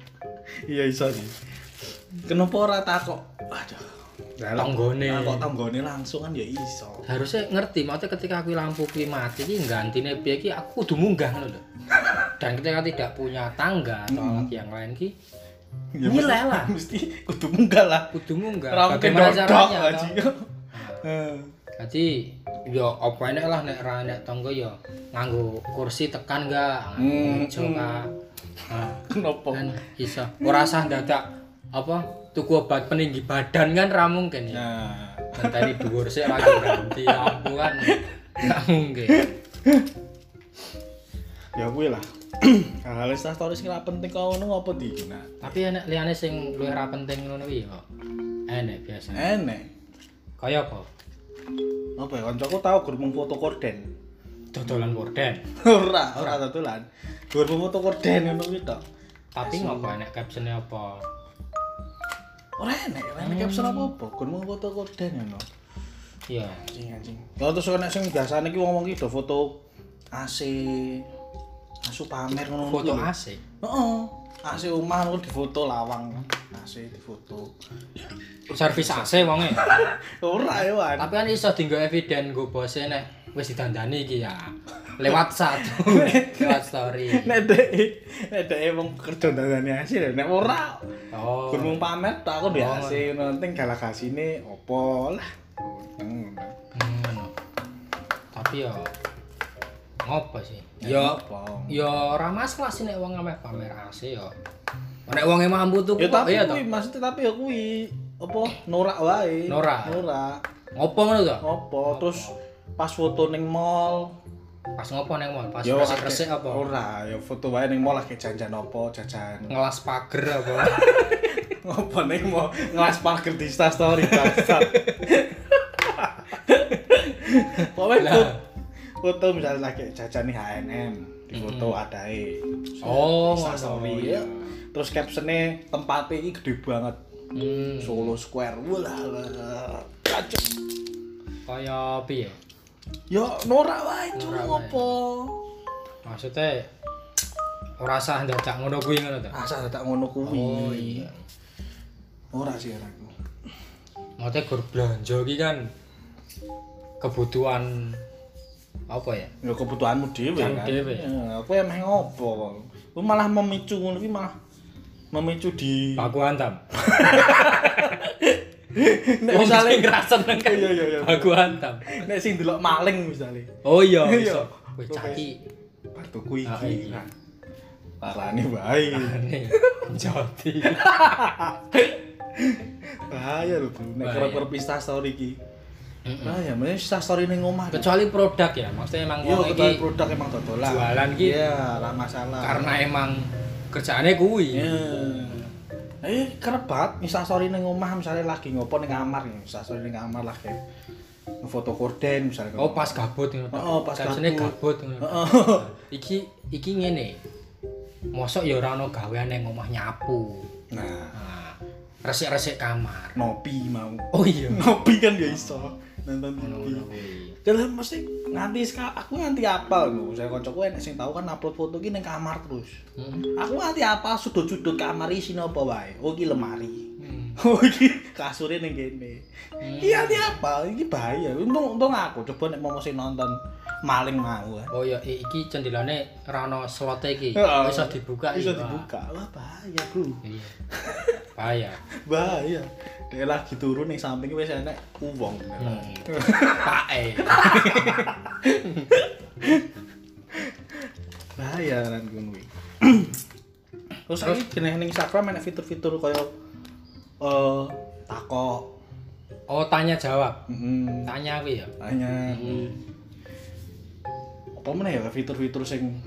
Speaker 1: iya iso sih kenapa ora takok aduh
Speaker 2: Tanggone.
Speaker 1: takok tanggone langsung kan ya iso
Speaker 2: harusnya ngerti maksudnya ketika aku lampu ki mati ki gantine piye ki aku kudu munggah ngono lho dan ketika tidak punya tangga atau
Speaker 1: Hmm.
Speaker 2: alat yang lain ki
Speaker 1: Ya,
Speaker 2: Ini
Speaker 1: mesti-
Speaker 2: lelah.
Speaker 1: mesti kudu munggah lah
Speaker 2: kudu munggah
Speaker 1: ra mungkin
Speaker 2: bagaimana
Speaker 1: dodok
Speaker 2: caranya
Speaker 1: aja
Speaker 2: toh?
Speaker 1: Heeh.
Speaker 2: Jadi ya apa enak lah nek ra enak tangga ya nganggo kursi tekan enggak
Speaker 1: Hmm,
Speaker 2: meja
Speaker 1: hmm. Oh.
Speaker 2: kah. Nah,
Speaker 1: kenapa
Speaker 2: kan iso ora sah dadak apa tuku obat peninggi badan kan ra mungkin ya
Speaker 1: nah
Speaker 2: ngenteni dhuwur sik ra ganti lampu kan gak mungkin
Speaker 1: ya kuwi lah hal-hal instastory sing ora penting kok ngono apa di nah
Speaker 2: tapi enek liyane sing luwih ra penting ngono kuwi kok enek biasanya
Speaker 1: enek
Speaker 2: kaya apa
Speaker 1: apa ya kancaku tau grup foto korden
Speaker 2: dodolan gorden
Speaker 1: ora ora tutulan grup foto korden ngono kuwi tok
Speaker 2: tapi ngopo enek captionnya apa
Speaker 1: ora enek ora enek caption apa-apa grup foto korden ngono
Speaker 2: iya
Speaker 1: anjing anjing ya terus enek sing biasane iki wong-wong iki do foto AC asu pamer ngono
Speaker 2: foto asik
Speaker 1: heeh AC omah ngono difoto lawang AC difoto
Speaker 2: servis AC wonge
Speaker 1: ora ya Wan.
Speaker 2: tapi kan iso dienggo eviden go bose nek wis didandani iki ya lewat satu lewat story
Speaker 1: nek dek nek dek wong kerja dandane hasil nek ora
Speaker 2: oh
Speaker 1: Gunung pamer tak aku duwe
Speaker 2: Oh.
Speaker 1: AC ngono penting galakasine opo lah.
Speaker 2: ngono. Hmm. Tapi ya ngopo sih?
Speaker 1: Ya
Speaker 2: Ya
Speaker 1: opo.
Speaker 2: ya ora masalah sih nek wong ameh pamer AC ya. Nek wonge mampu tuku
Speaker 1: Ya
Speaker 2: kok
Speaker 1: tapi
Speaker 2: iya
Speaker 1: kuwi
Speaker 2: to.
Speaker 1: maksud tapi ya kuwi apa norak wae.
Speaker 2: Norak.
Speaker 1: Norak.
Speaker 2: Ngopo ngono to?
Speaker 1: Opo terus pas foto ning mall
Speaker 2: Pas ngopo neng mall, pas
Speaker 1: Yo,
Speaker 2: resik
Speaker 1: akeh-
Speaker 2: resik apa?
Speaker 1: ora ya foto wae ning mall lagi jajan apa jajan
Speaker 2: Ngelas pager apa?
Speaker 1: ngopo ning mall ngelas pager di Insta story bangsat pokoknya
Speaker 2: Lah.
Speaker 1: foto, foto misalnya lagi jajan nih H&M di foto adae
Speaker 2: Oh,
Speaker 1: Insta
Speaker 2: ngono,
Speaker 1: story
Speaker 2: iya.
Speaker 1: ya terus captionnya tempatnya ini gede banget
Speaker 2: Hmm.
Speaker 1: Solo Square walah lah kacau
Speaker 2: Kaya piye?
Speaker 1: ya norak wae cuma
Speaker 2: Norak wae.
Speaker 1: ngopo
Speaker 2: Maksudnya ora sah ndadak ngono kuwi ngono ta?
Speaker 1: asal tak ngono kuwi
Speaker 2: Oh iya.
Speaker 1: ora sih anakku
Speaker 2: Maksudnya gur belanja iki kan kebutuhan apa ya?
Speaker 1: ya kebutuhanmu dhewe
Speaker 2: Kan
Speaker 1: kan.
Speaker 2: dhewe.
Speaker 1: Ya, kowe emeh ngopo? Kowe malah memicu ngono kuwi malah memicu di
Speaker 2: Aku hantam.
Speaker 1: nek
Speaker 2: Wong
Speaker 1: misale
Speaker 2: sing ngrasen kan.
Speaker 1: Iya, iya, iya.
Speaker 2: Aku hantam.
Speaker 1: nek sing delok maling misale.
Speaker 2: Oh iya,
Speaker 1: Iya.
Speaker 2: iso. Wis caki.
Speaker 1: Batuku
Speaker 2: Ah,
Speaker 1: iki.
Speaker 2: iya.
Speaker 1: Parane bae.
Speaker 2: Nih, Jati.
Speaker 1: Bahaya lho, Bro. Nek
Speaker 2: Bahaya.
Speaker 1: kerep-kerep Insta story iki. Bahaya, mending Insta story ning omah.
Speaker 2: Kecuali produk ya, maksudnya emang
Speaker 1: Yo
Speaker 2: wong
Speaker 1: ketua
Speaker 2: iki
Speaker 1: produk emang dodolan.
Speaker 2: jualan iki.
Speaker 1: Iya, lah masalah.
Speaker 2: karena emang kerjaannya kuwi.
Speaker 1: Iya. Eh, kerep banget instastory ning omah misalnya lagi ngopo ning kamar, ya. instastory ning kamar lagi foto korden misalnya.
Speaker 2: Oh pas gabut ngono. ta.
Speaker 1: Oh, pas
Speaker 2: Captionnya
Speaker 1: gabut.
Speaker 2: gabut ngono. ta.
Speaker 1: Heeh.
Speaker 2: Iki iki ngene. Mosok ya ora ono gawean nang omah nyapu.
Speaker 1: Nah,
Speaker 2: Nah, resik-resik kamar.
Speaker 1: ngopi mau.
Speaker 2: Oh iya.
Speaker 1: Ngopi kan ya iso nonton TV.
Speaker 2: Ngono kuwi.
Speaker 1: Dalam mesti nganti ska- aku nganti apal lho. Saya kancaku enek sing tahu kan upload foto ki ning kamar terus.
Speaker 2: Hmm.
Speaker 1: Aku nganti apal sudut-sudut kamar isi apa wae. Oh ki lemari.
Speaker 2: Hmm.
Speaker 1: Oh iki kasure ning kene. Iya ini apa? Ini bahaya. Untung untung aku coba nek mau sing nonton maling mau kan.
Speaker 2: Oh iya, i- iki jendelane ora ono slot iki.
Speaker 1: Heeh.
Speaker 2: Iso dibuka
Speaker 1: Bisa
Speaker 2: iya.
Speaker 1: dibuka. Wah bahaya, Bro.
Speaker 2: Iya. Bahaya.
Speaker 1: Bahaya. Dia lagi turun ning samping wis enek uwong.
Speaker 2: Hmm. Pak e.
Speaker 1: Bahaya kan kuwi. Terus saiki jeneng ning Instagram enek fitur-fitur kaya eh takok.
Speaker 2: Oh tanya jawab.
Speaker 1: Heeh.
Speaker 2: Tanya kuwi ya.
Speaker 1: Tanya apa meneh ya fitur-fitur sing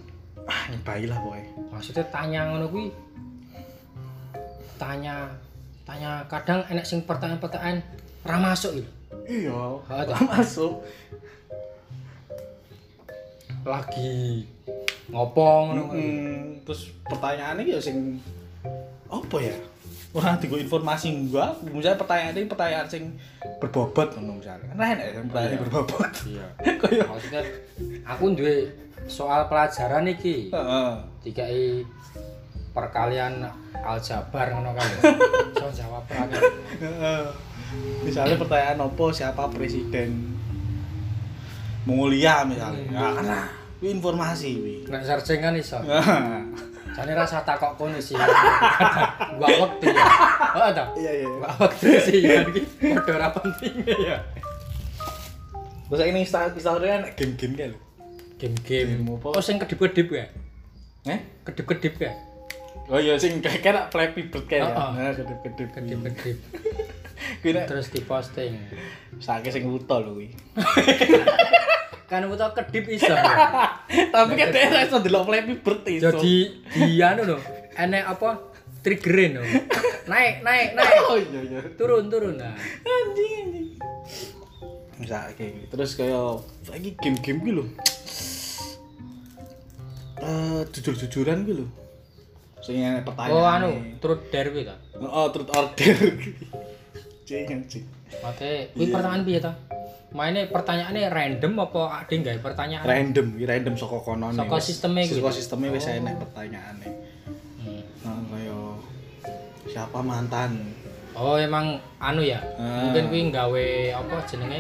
Speaker 1: ah nyebai lah pokoknya.
Speaker 2: maksudnya tanya ngono kuwi tanya tanya kadang enek sing pertanyaan-pertanyaan ra masuk lho
Speaker 1: Iya.
Speaker 2: Ha, tak.
Speaker 1: Masuk.
Speaker 2: lagi ngopong ngono kuwi.
Speaker 1: Mm, terus pertanyaannya ya sing apa ya? Ora digo informasi gua, misalnya pertanyaan ini pertanyaan sing berbobot ngono misalnya. Kan enak ya pertanyaan
Speaker 2: Iya.
Speaker 1: berbobot.
Speaker 2: iya
Speaker 1: Kayak
Speaker 2: maksudnya aku duwe soal pelajaran iki
Speaker 1: heeh.
Speaker 2: dikai perkalian aljabar ngono kan ya. iso jawab ra kan.
Speaker 1: Heeh. Misalnya pertanyaan apa siapa presiden Mongolia misalnya. Ya kan lah, kuwi informasi kuwi.
Speaker 2: nek searching kan iso
Speaker 1: Nah,
Speaker 2: jane rasa takok kono sih gua Oh, waktu ya heeh ta
Speaker 1: Iya iya.
Speaker 2: Pak waktu sih ya iki padha ora penting ya.
Speaker 1: Terus ini instastory enak game-game kayak lho.
Speaker 2: Game-game.
Speaker 1: Game apa?
Speaker 2: Oh sing kedip-kedip ya.
Speaker 1: Eh?
Speaker 2: Kedip-kedip ya.
Speaker 1: Oh iya sing kayak kayak Flappy Bird kayak.
Speaker 2: Heeh.
Speaker 1: Nah, kedip-kedip.
Speaker 2: Kedip-kedip.
Speaker 1: Kuwi nek
Speaker 2: Terus diposting.
Speaker 1: Saking sing wuto lho kuwi.
Speaker 2: Kan butuh kedip iso. ya.
Speaker 1: Tapi kan dia ora iso delok Flappy Bird iso.
Speaker 2: Jadi dia anu lho, enek apa? Triggerin lho. Naik, naik, naik.
Speaker 1: oh iya iya.
Speaker 2: Turun, turun. Nah.
Speaker 1: Anjing anjing. Misake terus kaya saiki game-game kuwi lho. Eh jujur-jujuran kuwi lho. Sing enek pertanyaan.
Speaker 2: Oh anu, turut derby ta.
Speaker 1: Oh, truth order. Cing anjing.
Speaker 2: Mate, kuwi pertanyaan piye ta? Mainnya pertanyaannya random apa ada nggak pertanyaan?
Speaker 1: Random, kuwi random saka kono nih,
Speaker 2: Saka
Speaker 1: wis.
Speaker 2: sistemnya kuwi. Oh.
Speaker 1: Saka sisteme wis enek pertanyaane.
Speaker 2: Hmm.
Speaker 1: Nah, kaya siapa mantan?
Speaker 2: Oh emang anu ya,
Speaker 1: Ah.
Speaker 2: mungkin kuwi nggawe apa jenenge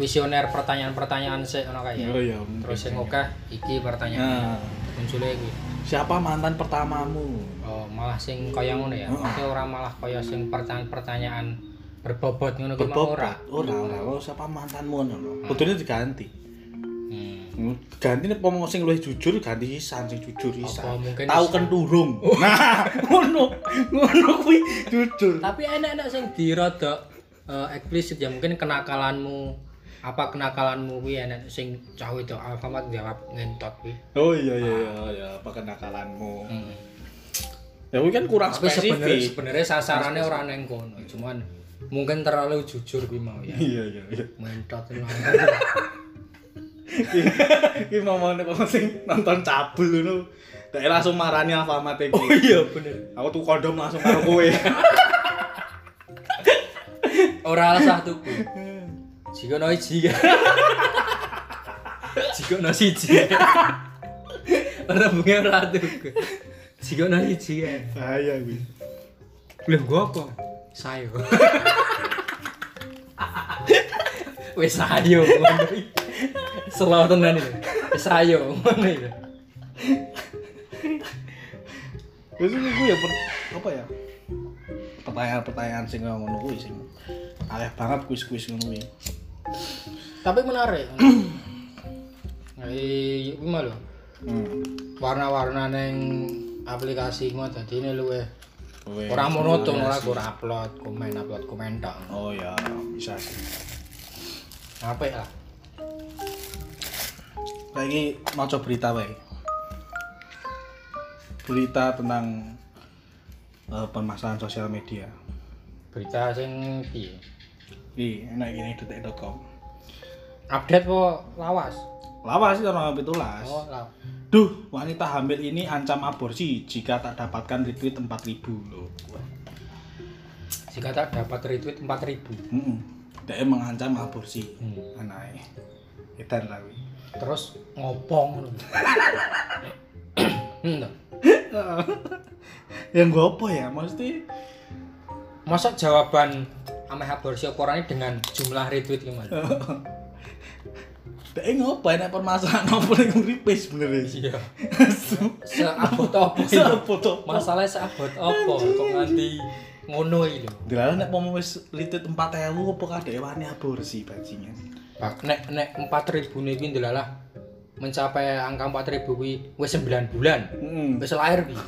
Speaker 2: kuesioner pertanyaan-pertanyaan sik ono kae. ya.
Speaker 1: Oh iya. Ah. mungkin.
Speaker 2: Terus sing akeh iki pertanyaan
Speaker 1: Nah,
Speaker 2: munculnya kuwi.
Speaker 1: siapa mantan pertamamu?
Speaker 2: Oh, malah sing kaya ngono ya. Maksudnya ora malah kaya sing pertanyaan-pertanyaan berbobot ngono kuwi mah
Speaker 1: Berbobot.
Speaker 2: ora.
Speaker 1: Ora, ora. Oh, siapa mantanmu ngono lho. Kudune diganti.
Speaker 2: Hmm.
Speaker 1: Ganti nek pomo sing luwih jujur ganti isan sing jujur
Speaker 2: Apa
Speaker 1: isan.
Speaker 2: mungkin
Speaker 1: Tahu
Speaker 2: Oh. isan?
Speaker 1: kenturung. Nah, ngono. Ngono kuwi jujur.
Speaker 2: Tapi enak-enak sing di rada eh, eksplisit ya mungkin kenakalanmu apa kenakalanmu kuwi enek sing cah itu Alfamart jawab ngentot kuwi.
Speaker 1: Oh iya iya iya,
Speaker 2: Ah.
Speaker 1: iya. apa kenakalanmu?
Speaker 2: Heeh.
Speaker 1: Ya kuwi kan kurang
Speaker 2: Tapi sebenarnya
Speaker 1: spesifik.
Speaker 2: sebenarnya sasarannya orang neng kono, cuman mungkin terlalu jujur kuwi mau ya.
Speaker 1: Iya iya iya.
Speaker 2: Ngentot lu.
Speaker 1: Iki ngomongnya kok sing nonton cabul ngono. Dek langsung marani Alfamart iki.
Speaker 2: Oh, iya bener.
Speaker 1: Aku tuh kondom langsung karo kowe.
Speaker 2: Ora alah tuku. Jika no iji Jika no siji. Ora bunge ora tuku. Jika no siji.
Speaker 1: Bahaya kuwi.
Speaker 2: Lho gua apa? Sayo. Wes sayo ngono iki. Selaw tenan iki. Wes sayo ngono iki.
Speaker 1: Terus itu ya per, apa ya? Pertanyaan-pertanyaan sing ngono kuwi sing akeh banget kuis-kuis ngono kuwi.
Speaker 2: Tapi menarik. Eh, iki malah
Speaker 1: Hmm.
Speaker 2: warna-warna neng aplikasi ngono dadi ini luweh
Speaker 1: Kowe.
Speaker 2: ora monoton ora ora upload komen upload komen tok
Speaker 1: Oh ya, bisa sih.
Speaker 2: apa ya
Speaker 1: Lagi mau coba berita wae. Berita tentang eh, permasalahan sosial media.
Speaker 2: berita sing piye
Speaker 1: Di enak gini detik.com.
Speaker 2: update po lawas
Speaker 1: Lawas sih orang hampir tulas.
Speaker 2: oh lawas
Speaker 1: Duh, wanita hamil ini ancam aborsi jika tak dapatkan retweet 4000 loh.
Speaker 2: jika tak dapat retweet 4000
Speaker 1: Heeh. Dia mengancam aborsi
Speaker 2: Hmm.
Speaker 1: anaknya. Edan Oh, lah kuwi.
Speaker 2: terus ngopong ngono. Hmm, toh.
Speaker 1: Yang gue apa ya? Mesti
Speaker 2: masa jawaban ameh aborsi oporane dengan jumlah retweet gimana
Speaker 1: Dia ngopo enak permasalahan apa yang ya, nguripe sebenarnya
Speaker 2: iya seabot apa itu?
Speaker 1: Sefoto
Speaker 2: masalahnya seabot apa kok nganti ngono iki lho
Speaker 1: Dilalah nek pomo wis litit 4000 apa kadek wani aborsi bajingan.
Speaker 2: Pak, nek nek 4000 niku ndelalah mencapai angka 4000 kuwi wis 9 bulan.
Speaker 1: Heeh.
Speaker 2: Wis lahir kuwi.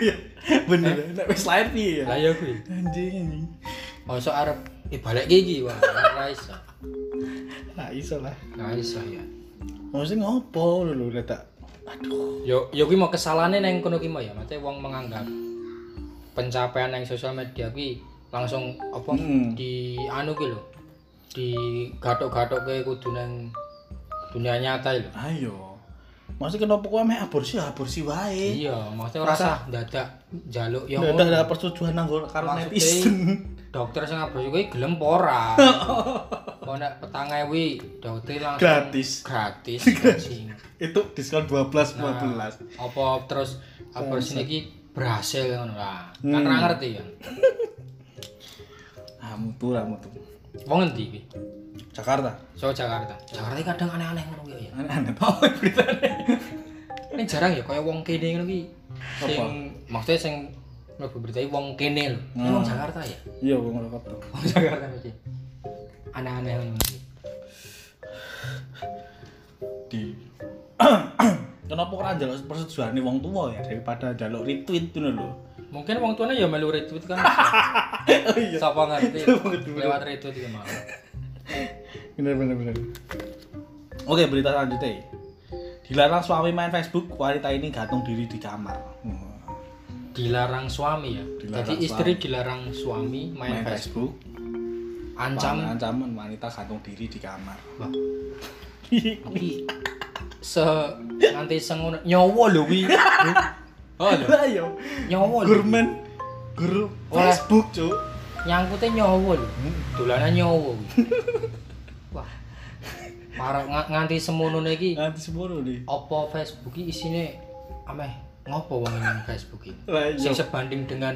Speaker 1: Iya, Bener. Nek wis lahir piye ya?
Speaker 2: Lah ya kuwi.
Speaker 1: Eh? Anjing anjing.
Speaker 2: Mosok arep dibalik iki wah, ora iso.
Speaker 1: Nah iso lah.
Speaker 2: Ora iso ya.
Speaker 1: Mesti ngopo lho lho tak. Aduh.
Speaker 2: Yo yo kuwi mau kesalahane neng kono ki mau ya, mate wong menganggap pencapaian neng sosial media kuwi langsung apa
Speaker 1: Mm.
Speaker 2: di anu ki lho. Di gatok-gatok ke kudu neng dunia nyata lho.
Speaker 1: Ayo. Mesti kenapa kowe meh aborsi aborsi wae.
Speaker 2: Iya, maksudnya ora sah dadak njaluk yo
Speaker 1: Ndak ada persetujuan nang karo
Speaker 2: Maksudnya-
Speaker 1: netizen.
Speaker 2: dokter sing abrasi kuwi gelem apa ora. Kok nek petang ewi dokter langsung
Speaker 1: Gratis.
Speaker 2: gratis. anjing.
Speaker 1: Itu diskon 12
Speaker 2: Nah,
Speaker 1: 14.
Speaker 2: apa terus abrasi iki berhasil ngono lah. Kan
Speaker 1: Hmm.
Speaker 2: ora ngerti ya.
Speaker 1: Ah mutu lah mutu.
Speaker 2: Wong endi iki?
Speaker 1: Jakarta.
Speaker 2: Saka Jakarta. Jakarta iki kadang aneh-aneh ngono kuwi ya.
Speaker 1: Aneh-aneh tau beritane.
Speaker 2: Ini jarang ya kaya wong kene ngono kuwi. Sing
Speaker 1: Apa?
Speaker 2: maksudnya sing mlebu berita iki wong kene lho. Ini Wong Jakarta ya.
Speaker 1: Iya, gua ngelakot tuh.
Speaker 2: Wong Jakarta mesti. Aneh-aneh ngono kuwi.
Speaker 1: di kenapa kan jaluk persetujuan wong tua ya daripada jaluk retweet itu lho
Speaker 2: Mungkin wong tuane ya melu retweet kan.
Speaker 1: oh iya
Speaker 2: Sapa ngerti?
Speaker 1: Sapa ngerti?
Speaker 2: Lewat retweet iki mau.
Speaker 1: bener bener bener oke berita selanjutnya dilarang suami main Facebook wanita ini gantung diri di kamar Hmm.
Speaker 2: Dilarang suami ya.
Speaker 1: Dilarang
Speaker 2: Jadi istri dilarang suami
Speaker 1: main
Speaker 2: main, Facebook.
Speaker 1: Facebook
Speaker 2: Ancam.
Speaker 1: ancaman ancaman wanita gantung diri di kamar
Speaker 2: Wah. Iki se nanti sengono nyawa lho kuwi. Oh lho,
Speaker 1: ayo
Speaker 2: nyawa lho.
Speaker 1: gurmen grup
Speaker 2: Oleh.
Speaker 1: Facebook cuk
Speaker 2: Nyangkute nyawa lho.
Speaker 1: Hmm.
Speaker 2: Dolanan nyawa kuwi. Wah. Parah ng- nganti semono iki
Speaker 1: nanti sepuluh nih
Speaker 2: apa Facebook iki isine ameh ngopo wong nang Facebook iki?
Speaker 1: lah
Speaker 2: Sing
Speaker 1: iya
Speaker 2: sebanding dengan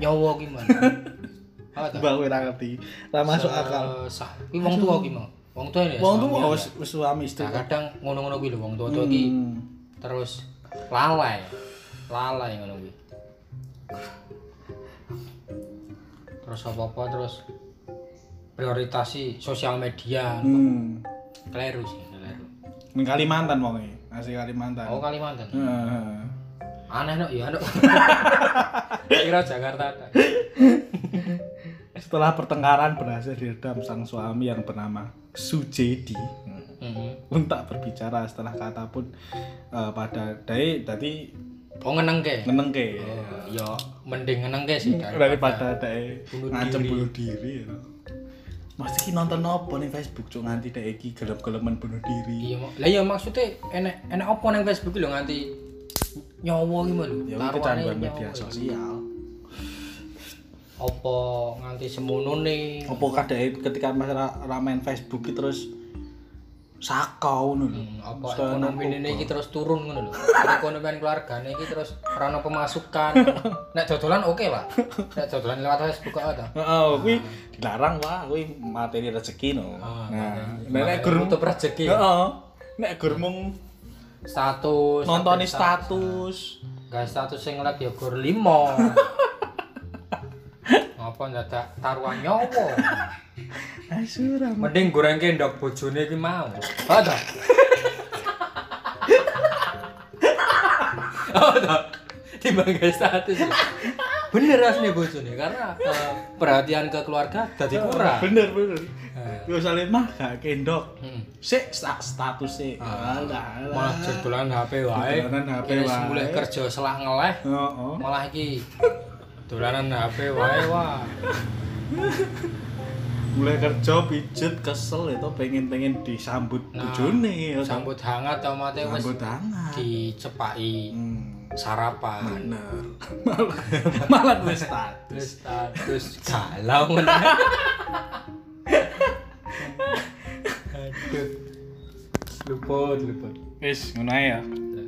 Speaker 2: nyawa ki mana? Apa ta?
Speaker 1: mbak gue ra ngerti ra masuk akal
Speaker 2: Sah. Kuwi wong tua ki mau. Wong tua ya.
Speaker 1: wong
Speaker 2: suami
Speaker 1: tua
Speaker 2: ya.
Speaker 1: wis wis suami istri
Speaker 2: Nah, kadang ngono-ngono kuwi lho wong tua-tua ki
Speaker 1: Hmm.
Speaker 2: terus lalai. Lalai ngono kuwi. Terus apa-apa terus prioritasi sosial media.
Speaker 1: hmm.
Speaker 2: Keliru sih, keliru.
Speaker 1: Ning Kalimantan wonge, asli Kalimantan.
Speaker 2: Oh Kalimantan. Iya,
Speaker 1: Heeh.
Speaker 2: Aneh nok ya nok. Kira Jakarta.
Speaker 1: Setelah pertengkaran berhasil diredam sang suami yang bernama Sujedi hmm,
Speaker 2: Mhm.
Speaker 1: pun tak berbicara setelah kata pun eh, pada Dai tadi
Speaker 2: Oh ngeneng ke?
Speaker 1: ngenengke
Speaker 2: Oh, ya mending ngeneng ke sih
Speaker 1: daripada Dai
Speaker 2: Ya, bunuh
Speaker 1: ngancem
Speaker 2: diri.
Speaker 1: bunuh diri ya. Mas iki nonton apa ning Facebook cuk nganti Dai iki gelem-gelemen bunuh diri.
Speaker 2: Iya, mak- lah ya maksudnya enek enek apa nang Facebook lho nganti nyawa iki lho.
Speaker 1: Ya
Speaker 2: Taruhane
Speaker 1: itu canduan
Speaker 2: nyawa
Speaker 1: media
Speaker 2: iki.
Speaker 1: sosial.
Speaker 2: Apa nganti semono ne?
Speaker 1: Apa kadang ketika mas ra, ra main Facebook ki terus sakau ngono lho.
Speaker 2: Hmm, apa
Speaker 1: Terus kayak
Speaker 2: ekonomi ini iki terus turun ngono lho. Ekonomian keluargane iki terus ora ono pemasukan. Nek dodolan oke lah. Nek dodolan lewat Facebook kok ta.
Speaker 1: Heeh, kuwi dilarang wah, kuwi materi rezeki no.
Speaker 2: Ah,
Speaker 1: Nah, nek nek Ya. gur
Speaker 2: tutup rezeki.
Speaker 1: Heeh. Nek gur mung
Speaker 2: Status
Speaker 1: nontoni
Speaker 2: update
Speaker 1: status.
Speaker 2: Gak status sing ngelag ya gor limo. Apa ndadak taruhan nyawa?
Speaker 1: Asura.
Speaker 2: Mending gorengke ndok bojone iki mau. Ha ta. Ha ta. Timbang gak status. ya. Bener asli bojone karena eh, perhatian ke keluarga dadi kurang.
Speaker 1: Bener bener.
Speaker 2: Eh,
Speaker 1: Yo sale mah gak kendok.
Speaker 2: hmm.
Speaker 1: Sik sta- status sik.
Speaker 2: Ah.
Speaker 1: Alah.
Speaker 2: Malah jodolan HP wae.
Speaker 1: Dolanan HP
Speaker 2: Kene
Speaker 1: wae.
Speaker 2: mulai kerja selak ngeleh.
Speaker 1: Heeh.
Speaker 2: malah iki dolanan HP wae wah
Speaker 1: Mulai kerja pijet kesel itu pengen-pengen disambut
Speaker 2: Nah,
Speaker 1: bojone ya.
Speaker 2: sambut ya hangat tau mate wis
Speaker 1: Sambut hangat.
Speaker 2: dicepai
Speaker 1: Hmm,
Speaker 2: sarapan
Speaker 1: bener. Malah malah wis status.
Speaker 2: terus terus galau men aduh luput luput
Speaker 1: Wis ngono ae ya.